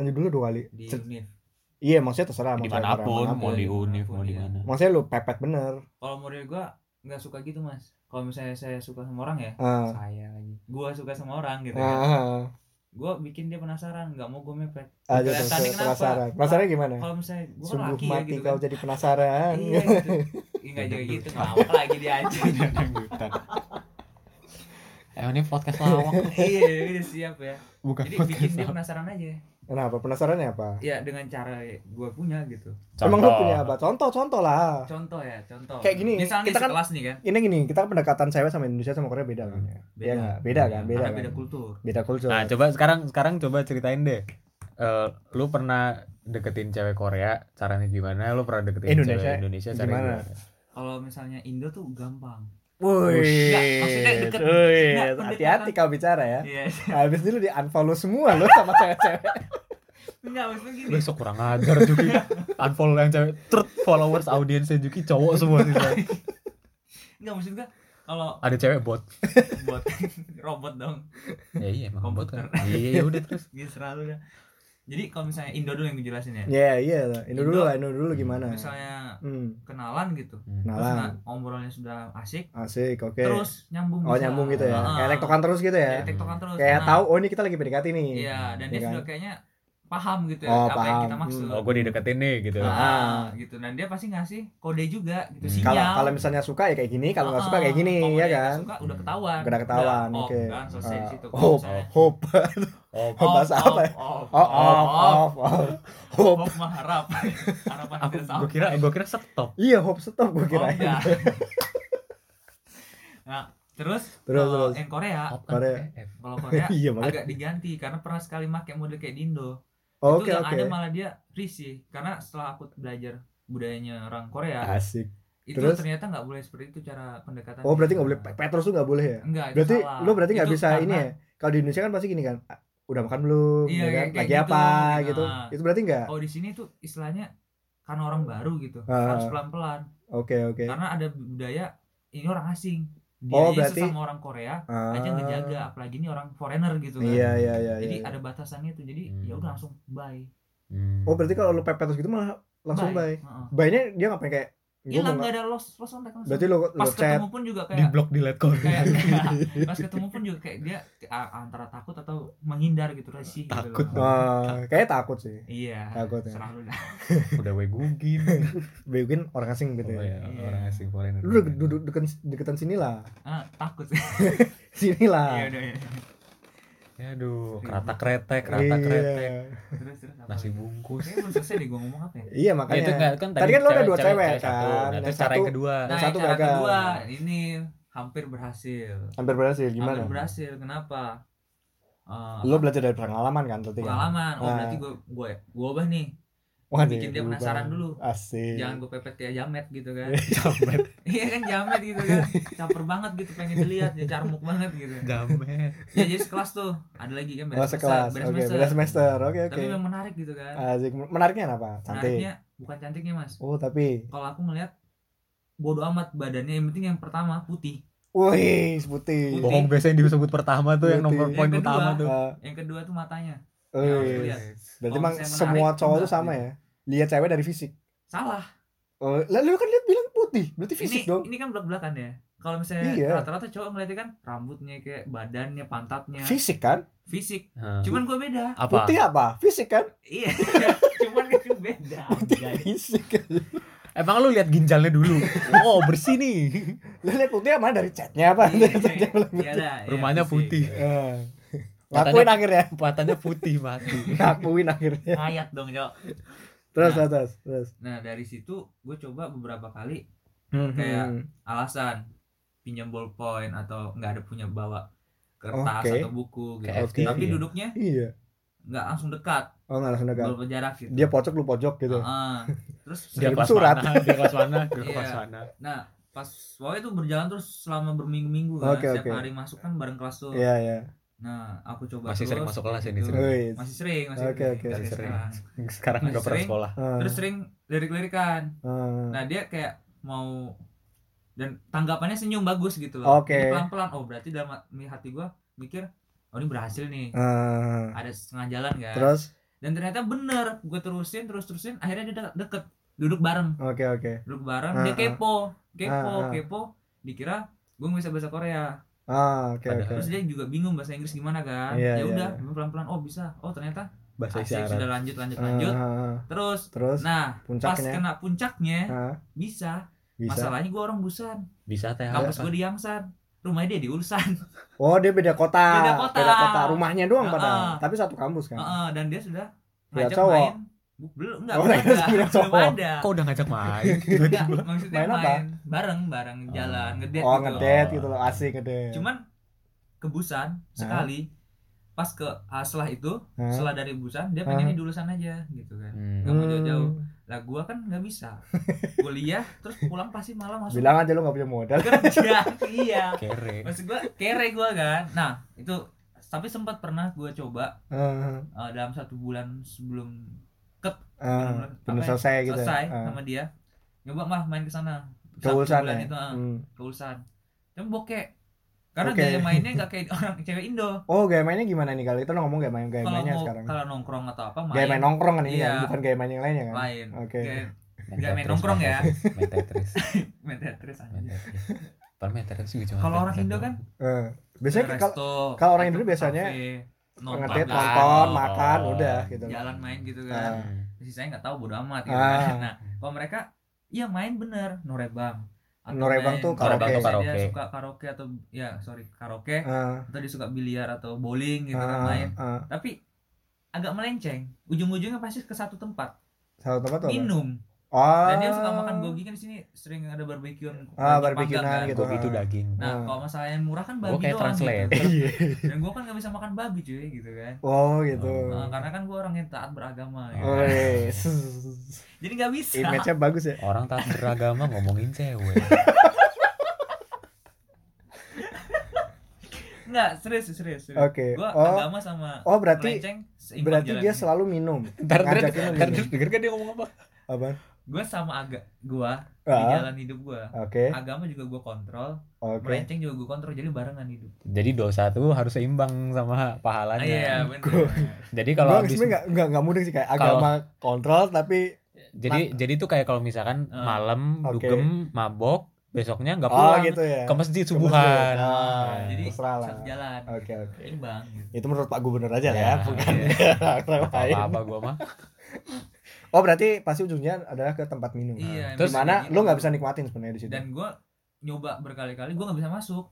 Speaker 2: lanjut dulu dua kali
Speaker 3: di
Speaker 2: iya. Cet-
Speaker 3: univ.
Speaker 2: Iya maksudnya terserah sama cewek Korea
Speaker 1: dimanapun
Speaker 2: manapun.
Speaker 1: mau di
Speaker 3: dimanapun,
Speaker 1: univ mau di
Speaker 3: iya.
Speaker 1: mana
Speaker 2: Maksudnya lo pepet bener
Speaker 3: Kalau model gua nggak suka gitu, Mas. Kalau misalnya saya suka sama orang ya,
Speaker 2: Ah,
Speaker 3: saya lagi. Gua suka sama orang gitu. kan.
Speaker 2: ah,
Speaker 3: gue bikin dia penasaran nggak mau gue mepet
Speaker 2: ah. Aja
Speaker 3: Kelihatannya
Speaker 2: terus-
Speaker 3: kenapa?
Speaker 2: penasaran Penasaran gimana?
Speaker 3: kalau misalnya gue kan
Speaker 2: Eh, Sungguh
Speaker 3: laki ya
Speaker 2: mati
Speaker 3: gitu
Speaker 2: kau
Speaker 3: kan
Speaker 2: jadi penasaran
Speaker 3: iya gitu Ih, nggak jadi
Speaker 2: <laughs>
Speaker 3: gitu ngamuk lagi dia aja
Speaker 1: <laughs> dangdutan emang ini Eh, podcast lawak
Speaker 3: iya udah siap ya
Speaker 1: bukan
Speaker 3: jadi bikin
Speaker 1: podcast
Speaker 3: dia
Speaker 1: lawak
Speaker 3: penasaran aja
Speaker 2: Kenapa? Penasarannya apa?
Speaker 3: ya dengan cara gue punya gitu
Speaker 2: Emang lo
Speaker 1: Contoh.
Speaker 2: punya apa? Contoh-contoh lah
Speaker 3: contoh ya
Speaker 2: Ah.
Speaker 3: contoh
Speaker 2: Kayak gini,
Speaker 3: misalnya
Speaker 2: kita
Speaker 3: kita
Speaker 2: kan-
Speaker 3: sekelas nih kan
Speaker 2: Ini gini, kita pendekatan cewek sama Indonesia sama Korea beda kan? Iya nggak? Beda kan? Beda
Speaker 3: Karena
Speaker 2: kan?
Speaker 3: beda kultur
Speaker 2: Beda kultur
Speaker 1: nah coba sekarang sekarang coba ceritain deh eh, lu pernah deketin cewek Korea caranya gimana? Lu pernah deketin
Speaker 2: Indonesia?
Speaker 1: cewek Indonesia caranya
Speaker 2: Gimana?
Speaker 1: gimana?
Speaker 3: Kalau misalnya Indo tuh gampang.
Speaker 2: Woi,
Speaker 3: Nggak, maksudnya deket.
Speaker 2: woi,
Speaker 3: Nggak, pendekatan.
Speaker 2: hati-hati kau bicara ya.
Speaker 3: Iya. <laughs>
Speaker 2: Habis dulu di unfollow semua lo sama cewek-cewek.
Speaker 3: Enggak maksudnya gini.
Speaker 1: Besok kurang ajar
Speaker 2: <laughs>
Speaker 1: Juki. Unfollow yang cewek, trut followers audiensnya Juki cowok semua sih. Bang.
Speaker 3: Enggak maksud gua kalau
Speaker 1: Ada cewek bot.
Speaker 3: buat <laughs> robot dong.
Speaker 1: Ya iya emang bot
Speaker 3: Komputer.
Speaker 1: kan. Iya ya udah terus.
Speaker 3: Gitu selalu dah. Jadi kalau misalnya Indo dulu yang dijelasin ya.
Speaker 2: Iya, iya. Indo dulu
Speaker 3: Indo.
Speaker 2: lah, Indo dulu gimana?
Speaker 3: Misalnya
Speaker 2: Hmm.
Speaker 3: kenalan gitu. Terus
Speaker 2: Nalang.
Speaker 3: nah, obrolannya sudah asik,
Speaker 2: Asik, oke.
Speaker 3: terus Ah. nyambung
Speaker 2: Oh,
Speaker 3: bisa.
Speaker 2: nyambung gitu ya.
Speaker 3: Heeh.
Speaker 2: Kayak tektokan terus gitu ya.
Speaker 3: Kayak tektokan terus.
Speaker 2: Kayak
Speaker 3: Nah,
Speaker 2: tahu oh ini kita lagi PDKT nih.
Speaker 3: Iya, dan dia
Speaker 2: Iya kan?
Speaker 3: sudah kayaknya paham gitu ya
Speaker 2: Oh,
Speaker 3: apa yang
Speaker 2: paham.
Speaker 3: kita maksud.
Speaker 1: Oh gue dideketin nih gitu.
Speaker 3: Ah,
Speaker 2: Ah.
Speaker 3: gitu. Dan dia pasti ngasih kode juga gitu
Speaker 1: Hmm.
Speaker 3: sinyal.
Speaker 2: Kalau kalau misalnya suka ya kayak gini, kalau nggak
Speaker 3: Ah,
Speaker 2: suka kayak gini, ya
Speaker 3: kalau dia nggak
Speaker 2: kan?
Speaker 3: Suka udah ketahuan.
Speaker 2: Udah ketahuan,
Speaker 3: Udah,
Speaker 2: oke.
Speaker 3: off, kan selesai di
Speaker 2: Ah,
Speaker 3: situ.
Speaker 2: oh,
Speaker 3: misalnya.
Speaker 2: Hope.
Speaker 1: Oh
Speaker 2: Oh, bahasa
Speaker 3: Off,
Speaker 2: apa ya?
Speaker 3: off,
Speaker 2: Oh, off,
Speaker 3: off, off.
Speaker 2: off, oh. off. Hope.
Speaker 3: Off mah harap. <laughs> Harapan
Speaker 1: aku
Speaker 3: tidak sampai.
Speaker 1: gue kira gue kira stop.
Speaker 2: Iya, hope stop gue
Speaker 3: Oh,
Speaker 2: kirain.
Speaker 3: enggak. nah, terus
Speaker 2: Terus,
Speaker 3: kalau
Speaker 2: terus.
Speaker 3: yang Korea,
Speaker 2: Korea.
Speaker 1: kan,
Speaker 3: kalau Korea
Speaker 2: <laughs> <laughs> Iya, makanya.
Speaker 3: agak diganti karena pernah sekali make model kayak di Indo.
Speaker 2: Oke,
Speaker 3: itu yang ada
Speaker 2: oke.
Speaker 3: malah dia risih karena setelah aku belajar budayanya orang Korea
Speaker 2: Asik.
Speaker 3: itu
Speaker 2: Ah, terus?
Speaker 3: ternyata nggak boleh seperti itu cara pendekatan
Speaker 2: Oh, berarti nggak boleh Petrus tuh nggak boleh ya?
Speaker 3: enggak itu
Speaker 2: Berarti
Speaker 3: salah.
Speaker 2: lu berarti nggak
Speaker 3: Itu
Speaker 2: bisa
Speaker 3: karena-
Speaker 2: ini ya. Kalau di Indonesia kan pasti gini kan, "Ah, udah makan belum, ya
Speaker 3: Iya,
Speaker 2: kan?
Speaker 3: kayak- kayak
Speaker 2: lagi
Speaker 3: gitu,
Speaker 2: apa
Speaker 3: gitu.
Speaker 2: gitu.
Speaker 3: Nah.
Speaker 2: Itu berarti nggak?
Speaker 3: oh di sini tuh istilahnya karena orang baru gitu
Speaker 2: Ah.
Speaker 3: harus pelan pelan
Speaker 2: Oke oke.
Speaker 3: karena ada budaya ini orang asing dia
Speaker 2: Oh,
Speaker 3: aja
Speaker 2: berarti-
Speaker 3: sesama orang Korea
Speaker 2: Ah,
Speaker 3: aja ngejaga apalagi ini orang foreigner gitu kan
Speaker 2: Iya iya iya.
Speaker 3: jadi
Speaker 2: iya.
Speaker 3: ada batasannya tuh jadi
Speaker 1: Hmm.
Speaker 3: ya udah langsung bye
Speaker 2: Oh berarti kalau lu pepetus gitu malah langsung bye.
Speaker 3: Heeh.
Speaker 2: Bye-nya dia ngapain kayak gua mau
Speaker 3: hilang nggak
Speaker 2: nggak-
Speaker 3: ada lost lost kontak langsung
Speaker 2: Berarti lu lu
Speaker 3: pas
Speaker 2: chat.
Speaker 3: ketemu pun juga
Speaker 1: di
Speaker 3: kayak
Speaker 1: blok di let call.
Speaker 2: <laughs>
Speaker 3: kayak, <laughs> kayak pas ketemu pun juga kayak dia a- antara takut atau menghindar gitu resih gitu
Speaker 1: Takut.
Speaker 3: loh.
Speaker 2: Ah, kayak takut sih.
Speaker 3: iya
Speaker 2: Takut ya.
Speaker 3: serah lu dah <laughs>
Speaker 1: udah gue
Speaker 2: <laughs>
Speaker 1: gugin.
Speaker 2: Bayukin orang asing gitu
Speaker 1: Oh,
Speaker 2: ya.
Speaker 1: iya, Orang asing foreigner.
Speaker 2: Lu duduk duduk deken- deketan sini lah. <laughs>
Speaker 3: Ah, takut
Speaker 2: Sini
Speaker 3: <laughs> iya
Speaker 2: lah.
Speaker 3: udah ya
Speaker 1: Ya, aduh, kerata kretek, kerata
Speaker 2: Iya.
Speaker 1: kretek,
Speaker 3: terus terus apa
Speaker 1: nasi
Speaker 3: lagi?
Speaker 1: bungkus.
Speaker 3: Kayaknya belum selesai deh gua ngomong apa ya
Speaker 2: Iya
Speaker 1: Nah, itu
Speaker 2: makanya.
Speaker 1: enggak kan
Speaker 2: Tadi kan lu ada dua cewek,
Speaker 1: satu.
Speaker 2: kan?
Speaker 1: Nah,
Speaker 2: Yang
Speaker 1: terus cara yang
Speaker 2: satu- <laughs>
Speaker 1: kedua.
Speaker 3: nah
Speaker 2: satu
Speaker 3: cara
Speaker 2: gagal.
Speaker 3: kedua ini hampir berhasil
Speaker 2: Hampir berhasil
Speaker 3: hampir
Speaker 2: gimana?
Speaker 3: berhasil kenapa Eh,
Speaker 2: Lu belajar dari pengalaman kan berarti kan?
Speaker 3: pengalaman oh
Speaker 2: Ah.
Speaker 3: berarti gua gua gua ubah nih
Speaker 2: Waduh,
Speaker 3: bikin dia
Speaker 2: berubah.
Speaker 3: penasaran dulu.
Speaker 2: Asik.
Speaker 3: jangan gua pepet kayak jamet gitu kan
Speaker 2: <laughs>
Speaker 1: Jamet,
Speaker 3: iya kan jamet gitu kan caper banget gitu pengen dilihat ya carmuk banget gitu
Speaker 1: jamet.
Speaker 3: ya jadi sekelas tuh ada lagi kan
Speaker 2: Oh, sekelas.
Speaker 3: beres
Speaker 2: Oke,
Speaker 3: semester.
Speaker 2: beda semester. Oke, oke.
Speaker 3: tapi yang menarik gitu kan
Speaker 2: Asik. Menariknya apa? Cantik.
Speaker 3: menariknya bukan cantiknya mas
Speaker 2: Oh, tapi
Speaker 3: kalau aku ngelihat bodoh amat badannya yang penting yang pertama putih
Speaker 2: Wih, putih.
Speaker 3: Putih.
Speaker 1: Bohong biasanya disebut pertama tuh yang nomor
Speaker 2: Iya, Yang Iya.
Speaker 1: poin
Speaker 3: kedua.
Speaker 1: utama tuh.
Speaker 2: Ah,
Speaker 3: yang kedua tuh matanya
Speaker 2: wih.
Speaker 3: Ya, Lihat.
Speaker 2: eh. Berarti
Speaker 3: Kalau
Speaker 2: emang
Speaker 3: misalnya
Speaker 2: semua
Speaker 3: menarik,
Speaker 2: cowok
Speaker 3: enggak
Speaker 2: tuh sama
Speaker 3: gitu.
Speaker 2: ya. Lihat cewek dari fisik.
Speaker 3: salah
Speaker 2: Oh, lalu lu kan lihat bilang putih, berarti fisik
Speaker 3: ini
Speaker 2: dong.
Speaker 3: ini kan belak belakan ya kalau misalnya
Speaker 2: Iya.
Speaker 3: rata-rata cowok ngeliatnya kan rambutnya kayak badannya pantatnya
Speaker 2: Fisik kan?
Speaker 3: fisik
Speaker 1: Hah.
Speaker 3: cuman gue
Speaker 1: Nah.
Speaker 3: beda
Speaker 1: Apa?
Speaker 2: Putih apa? Fisik kan?
Speaker 3: iya <laughs> cuman itu beda anjay.
Speaker 2: Fisik.
Speaker 1: Emang lu lihat ginjalnya dulu.
Speaker 2: <laughs>
Speaker 1: Oh, bersih nih.
Speaker 2: Lu lihat putih apa dari catnya apa?
Speaker 3: Iya,
Speaker 2: Dari catnya bilang
Speaker 3: iya
Speaker 2: putih.
Speaker 3: lah, iya,
Speaker 1: Rumahnya putih.
Speaker 2: Ah. Ngakuin
Speaker 1: Katanya-
Speaker 2: akhirnya.
Speaker 1: Patannya putih mati.
Speaker 2: Ngakuin akhirnya.
Speaker 3: ngayat dong cowok
Speaker 2: Terus,
Speaker 3: Nah.
Speaker 2: terus, terus.
Speaker 3: nah dari situ gue coba beberapa kali Hmm, iya.
Speaker 2: Kayak
Speaker 3: alasan pinjam ballpoint atau nggak ada punya bawa kertas
Speaker 2: Oke.
Speaker 3: atau buku gitu.
Speaker 1: Kayak
Speaker 2: Oke.
Speaker 3: Tapi
Speaker 1: ya.
Speaker 3: duduknya
Speaker 2: Iya.
Speaker 3: nggak langsung dekat,
Speaker 2: Oh, enggak langsung dekat.
Speaker 3: beberapa jarak gitu.
Speaker 2: Dia pojok lu pojok gitu.
Speaker 3: Heeh. Terus
Speaker 1: Dia
Speaker 2: Kirim
Speaker 1: kelas
Speaker 2: surat.
Speaker 1: mana? Dia kelas mana?
Speaker 2: <laughs>
Speaker 1: Dia
Speaker 3: Iya.
Speaker 1: kelas mana?
Speaker 3: nah pas pokoknya itu berjalan terus selama berminggu-minggu kan.
Speaker 2: Oke,
Speaker 3: Setiap
Speaker 2: oke.
Speaker 3: hari masuk kan bareng kelas tuh.
Speaker 2: Iya, iya.
Speaker 3: Nah, aku coba
Speaker 1: Masih
Speaker 3: terus.
Speaker 1: sering masuk kelas ini
Speaker 3: gitu.
Speaker 1: sering.
Speaker 2: Wih.
Speaker 3: Masih sering, masih
Speaker 2: Oke, oke.
Speaker 3: Dari
Speaker 1: Masih sering.
Speaker 3: sekarang.
Speaker 1: Sekarang
Speaker 3: Masih
Speaker 1: nggak pernah
Speaker 3: sering.
Speaker 1: sekolah.
Speaker 2: Ah,
Speaker 3: Terus sering lirik-lirikan.
Speaker 2: ah.
Speaker 3: Nah, dia kayak mau dan tanggapannya senyum bagus gitu
Speaker 2: Oke.
Speaker 3: Jadi Pelan-pelan. Oh, berarti dalam hati gua mikir, oh ini berhasil nih.
Speaker 2: Ah.
Speaker 3: ada setengah jalan kan
Speaker 2: Terus
Speaker 3: dan ternyata bener gue terusin terus terusin akhirnya dia de- deket duduk bareng
Speaker 2: oke oke.
Speaker 3: duduk bareng
Speaker 2: Ah,
Speaker 3: dia
Speaker 2: ah.
Speaker 3: kepo kepo
Speaker 2: Ah, ah.
Speaker 3: kepo dikira gue bisa bahasa Korea
Speaker 2: Ah, oke oke.
Speaker 3: terus dia juga bingung bahasa Inggris gimana kan
Speaker 2: Iya,
Speaker 3: ya
Speaker 2: iya,
Speaker 3: udah
Speaker 2: iya.
Speaker 3: pelan pelan oh bisa oh ternyata
Speaker 1: Bahasa
Speaker 3: asik
Speaker 1: isyarat.
Speaker 3: sudah lanjut lanjut
Speaker 2: Ah,
Speaker 3: lanjut
Speaker 2: ah, ah.
Speaker 3: terus
Speaker 2: Terus
Speaker 3: nah pas
Speaker 2: puncaknya.
Speaker 3: kena puncaknya
Speaker 2: Ah,
Speaker 3: bisa.
Speaker 2: bisa.
Speaker 3: masalahnya gue orang Busan
Speaker 1: Bisa teh.
Speaker 3: kampus
Speaker 1: apa?
Speaker 3: gue di Yangsan rumahnya dia di Ulsan
Speaker 2: Oh, dia beda kota.
Speaker 3: Beda kota.
Speaker 2: Rumahnya doang
Speaker 3: Ah,
Speaker 2: padahal,
Speaker 3: ah.
Speaker 2: tapi satu kampus kan.
Speaker 3: <laughs> Heeh, dan dia sudah
Speaker 2: Punya
Speaker 3: ngajak
Speaker 2: cowok.
Speaker 3: main Bu- belum enggak
Speaker 2: Oh,
Speaker 3: belum
Speaker 2: dia
Speaker 3: ada
Speaker 2: punya
Speaker 3: belum
Speaker 2: cowok.
Speaker 3: ada
Speaker 1: Kok udah ngajak main?
Speaker 2: <laughs>
Speaker 1: Tiba-tiba.
Speaker 3: Enggak, maksudnya
Speaker 2: Main
Speaker 3: main,
Speaker 2: apa? Ah.
Speaker 3: bareng bareng jalan ngedate
Speaker 2: oh,
Speaker 3: gitu.
Speaker 2: ngedate gitu loh, asik ngedate.
Speaker 3: Cuman kebusan sekali pas ke ah, setelah itu
Speaker 2: Hah?
Speaker 3: setelah dari Busan dia pengennya di lulusan aja gitu kan
Speaker 1: Hmm.
Speaker 3: Nggak mau jauh-jauh.
Speaker 2: Hmm.
Speaker 3: lah gua kan nggak bisa kuliah terus pulang pasti malam masuk
Speaker 2: Bilang aja lu gak punya <laughs> modal.
Speaker 3: kerja iya
Speaker 1: Kere.
Speaker 3: maksud gua kere gua kan nah itu tapi sempat pernah gua coba
Speaker 2: Heeh.
Speaker 3: eh, dalam satu bulan sebelum
Speaker 2: Heeh.
Speaker 3: Bener-bener.
Speaker 2: Belum
Speaker 3: Apa ya?
Speaker 2: selesai Ah, gitu.
Speaker 3: selesai
Speaker 2: Heeh.
Speaker 3: sama dia nyoba mah main ke sana
Speaker 2: Ke
Speaker 3: Satu
Speaker 2: Ulsan
Speaker 3: bulan
Speaker 2: ya?
Speaker 3: itu ah,
Speaker 2: Hmm.
Speaker 3: ke Ulsan tapi bokek karena
Speaker 2: Oke.
Speaker 3: gaya mainnya nggak kayak orang cewek Indo
Speaker 2: Oh, gaya mainnya gimana nih kalau itu lo ngomong gaya main gaya
Speaker 3: kalau
Speaker 2: mainnya
Speaker 3: mau
Speaker 2: sekarang?
Speaker 3: kalau nongkrong atau apa main
Speaker 2: Gaya main nongkrong kan ini
Speaker 3: Iya.
Speaker 2: kan, bukan gaya main yang lainnya kan?
Speaker 3: main
Speaker 2: Oke.
Speaker 3: Gaya-
Speaker 1: Tetris,
Speaker 3: main nongkrong ya.
Speaker 1: Tetris, Main Tetris.
Speaker 3: main Tetris aja.
Speaker 1: Main Tetris. Padahal main Tetris juga cuma
Speaker 3: Kalau
Speaker 1: main
Speaker 3: orang
Speaker 1: Tetris
Speaker 3: Indo
Speaker 1: doang.
Speaker 3: kan
Speaker 2: Eh, Biasanya
Speaker 3: Ke
Speaker 2: kalau
Speaker 3: resto,
Speaker 2: kalau orang
Speaker 3: atau
Speaker 2: Indo
Speaker 3: ke
Speaker 2: biasanya
Speaker 3: kafe, nonton
Speaker 2: ngetit
Speaker 3: lah,
Speaker 2: nonton,
Speaker 1: Oh.
Speaker 2: makan, udah gitu.
Speaker 3: jalan main gitu
Speaker 2: Ah.
Speaker 3: kan
Speaker 1: Hmm.
Speaker 3: sisanya nggak tahu bodo amat gitu
Speaker 2: Ah.
Speaker 3: kan nah kalau mereka iya main bener norebang Atau
Speaker 2: Norebang
Speaker 3: main-
Speaker 2: tuh
Speaker 1: Norebang tuh
Speaker 3: Biasanya
Speaker 1: karaoke.
Speaker 3: dia suka karaoke atau ya sorry karaoke
Speaker 2: Heeh.
Speaker 3: atau dia suka biliar atau bowling gitu
Speaker 2: Heeh,
Speaker 3: kan main
Speaker 2: heeh.
Speaker 3: tapi agak melenceng ujung-ujungnya pasti ke satu tempat
Speaker 2: Satu tempat tuh. apa?
Speaker 3: minum
Speaker 2: Oh.
Speaker 3: dan dia suka makan gogi kan di sini sering ada barbekyuan
Speaker 2: Ah,
Speaker 3: wajib panggang
Speaker 2: barbekyuan gitu.
Speaker 1: Kok gitu
Speaker 2: Ah.
Speaker 1: daging.
Speaker 3: kan. nah
Speaker 2: Ah.
Speaker 3: kalau masalah yang murah kan babi
Speaker 1: Gua kayak
Speaker 3: doang
Speaker 1: translate.
Speaker 3: gitu.
Speaker 2: Iya.
Speaker 3: dan gua kan nggak bisa makan babi cuy gitu kan
Speaker 2: Oh, gitu.
Speaker 3: Nah, karena kan gua orang yang taat beragama ya.
Speaker 1: Oh.
Speaker 2: Woi.
Speaker 3: jadi nggak bisa
Speaker 2: <laughs> Image-nya bagus ya.
Speaker 1: Orang tak beragama ngomongin cewek.
Speaker 3: <laughs> nggak serius serius, serius.
Speaker 2: Oke.
Speaker 3: gua
Speaker 2: Oh.
Speaker 3: agama sama
Speaker 2: Oh, berarti
Speaker 3: melenceng seimbang
Speaker 2: berarti dia
Speaker 3: jalannya.
Speaker 2: selalu minum.
Speaker 1: Ntar
Speaker 2: Ngajakin
Speaker 1: Dred,
Speaker 2: lu
Speaker 3: Kan
Speaker 1: ntar
Speaker 2: minum.
Speaker 1: Dred, denger gak dia ngomong apa?
Speaker 2: Apa?
Speaker 3: gua sama agak gua di
Speaker 2: Ah,
Speaker 3: jalan hidup gua
Speaker 2: Oke.
Speaker 3: agama juga gua kontrol
Speaker 2: Oke.
Speaker 3: Iya. melenceng juga gua kontrol jadi barengan hidup
Speaker 1: Jadi dosa tuh harus seimbang sama
Speaker 3: Ah,
Speaker 1: pahalanya.
Speaker 3: iya benar
Speaker 1: Jadi
Speaker 2: Kalau
Speaker 1: kalau habis
Speaker 2: sebenarnya nggak nggak nggak mudeng sih kayak
Speaker 1: Kalau-
Speaker 2: agama kontrol tapi
Speaker 1: jadi jadi tuh kayak kalau misalkan
Speaker 3: Ah.
Speaker 1: malam
Speaker 2: Oke.
Speaker 1: dugem mabok besoknya nggak
Speaker 2: oh
Speaker 1: pulang
Speaker 2: gitu ya.
Speaker 1: ke masjid
Speaker 2: Ke
Speaker 1: subuhan.
Speaker 2: masjid. Ah,
Speaker 3: jadi
Speaker 2: terserah lah.
Speaker 3: satu jalan
Speaker 2: Oke oke.
Speaker 3: seimbang gitu. Iya,
Speaker 2: Itu menurut Pak Gubernur
Speaker 1: Ya,
Speaker 2: aja lah ya, bukan <laughs> orang
Speaker 1: Apa
Speaker 2: lain.
Speaker 1: apa gua mah.
Speaker 2: Oh berarti pasti ujungnya adalah ke tempat minum.
Speaker 3: iya
Speaker 1: Terus
Speaker 3: emang
Speaker 2: Dimana
Speaker 3: kayak
Speaker 2: lu nggak
Speaker 3: gitu.
Speaker 2: bisa nikmatin sebenarnya di situ.
Speaker 3: dan gua nyoba berkali-kali gua nggak bisa masuk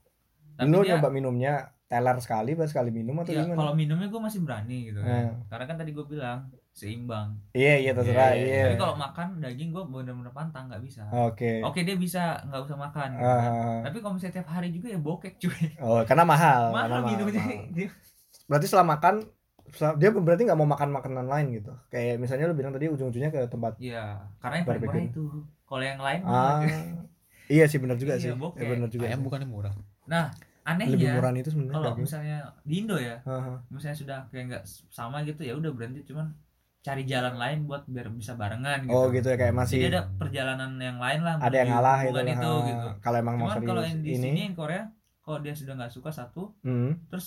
Speaker 3: tapi
Speaker 2: Lu
Speaker 3: dia
Speaker 2: nyoba minumnya teler sekali, baru sekali minum atau
Speaker 3: ya,
Speaker 2: gimana?
Speaker 3: kalau minumnya gua masih berani gitu
Speaker 2: Eh,
Speaker 3: kan karena kan tadi gua bilang seimbang
Speaker 2: Iya iya
Speaker 1: Iya,
Speaker 2: terserah.
Speaker 1: iya.
Speaker 2: Iya.
Speaker 3: Tapi kalau Oh. makan daging gue bener-bener pantang nggak bisa.
Speaker 2: Oke.
Speaker 3: Oke dia bisa nggak usah makan. gitu kan.
Speaker 2: Ah,
Speaker 3: Tapi kalau misalnya tiap hari juga ya bokek cuy.
Speaker 2: Oh karena mahal. karena
Speaker 3: <laughs> Mahal minumnya. Gitu.
Speaker 2: mahal. Berarti setelah makan setelah- dia berarti nggak mau makan makanan lain gitu. Kayak misalnya lu bilang tadi ujung-ujungnya ke tempat
Speaker 3: Iya, karena yang paling murah
Speaker 2: Barbeque.
Speaker 3: itu. Kalau yang lain
Speaker 2: Ah.
Speaker 3: mahal.
Speaker 2: iya sih benar juga sih. Ya,
Speaker 3: Iya, bokeh.
Speaker 2: benar juga.
Speaker 1: Ayam
Speaker 2: sih.
Speaker 1: bukannya murah.
Speaker 3: anehnya
Speaker 2: Lebih murahan itu sebenarnya.
Speaker 3: ya, kalau
Speaker 2: daging.
Speaker 3: misalnya di Indo ya,
Speaker 2: Haha.
Speaker 3: misalnya sudah kayak nggak sama gitu ya udah berhenti cuman cari jalan lain buat biar bisa barengan gitu.
Speaker 2: Oh gitu ya kayak masih
Speaker 3: Jadi
Speaker 2: ada,
Speaker 3: ada perjalanan yang lain lah.
Speaker 2: yang
Speaker 3: menuju
Speaker 2: ngalah gitu.
Speaker 3: hubungan
Speaker 2: lah.
Speaker 3: itu gitu.
Speaker 2: Kalau emang mau
Speaker 3: Cuman
Speaker 2: serius
Speaker 3: kalau yang di
Speaker 2: ini.
Speaker 3: sini yang Korea, kalau dia sudah nggak suka satu,
Speaker 2: Hmm.
Speaker 3: terus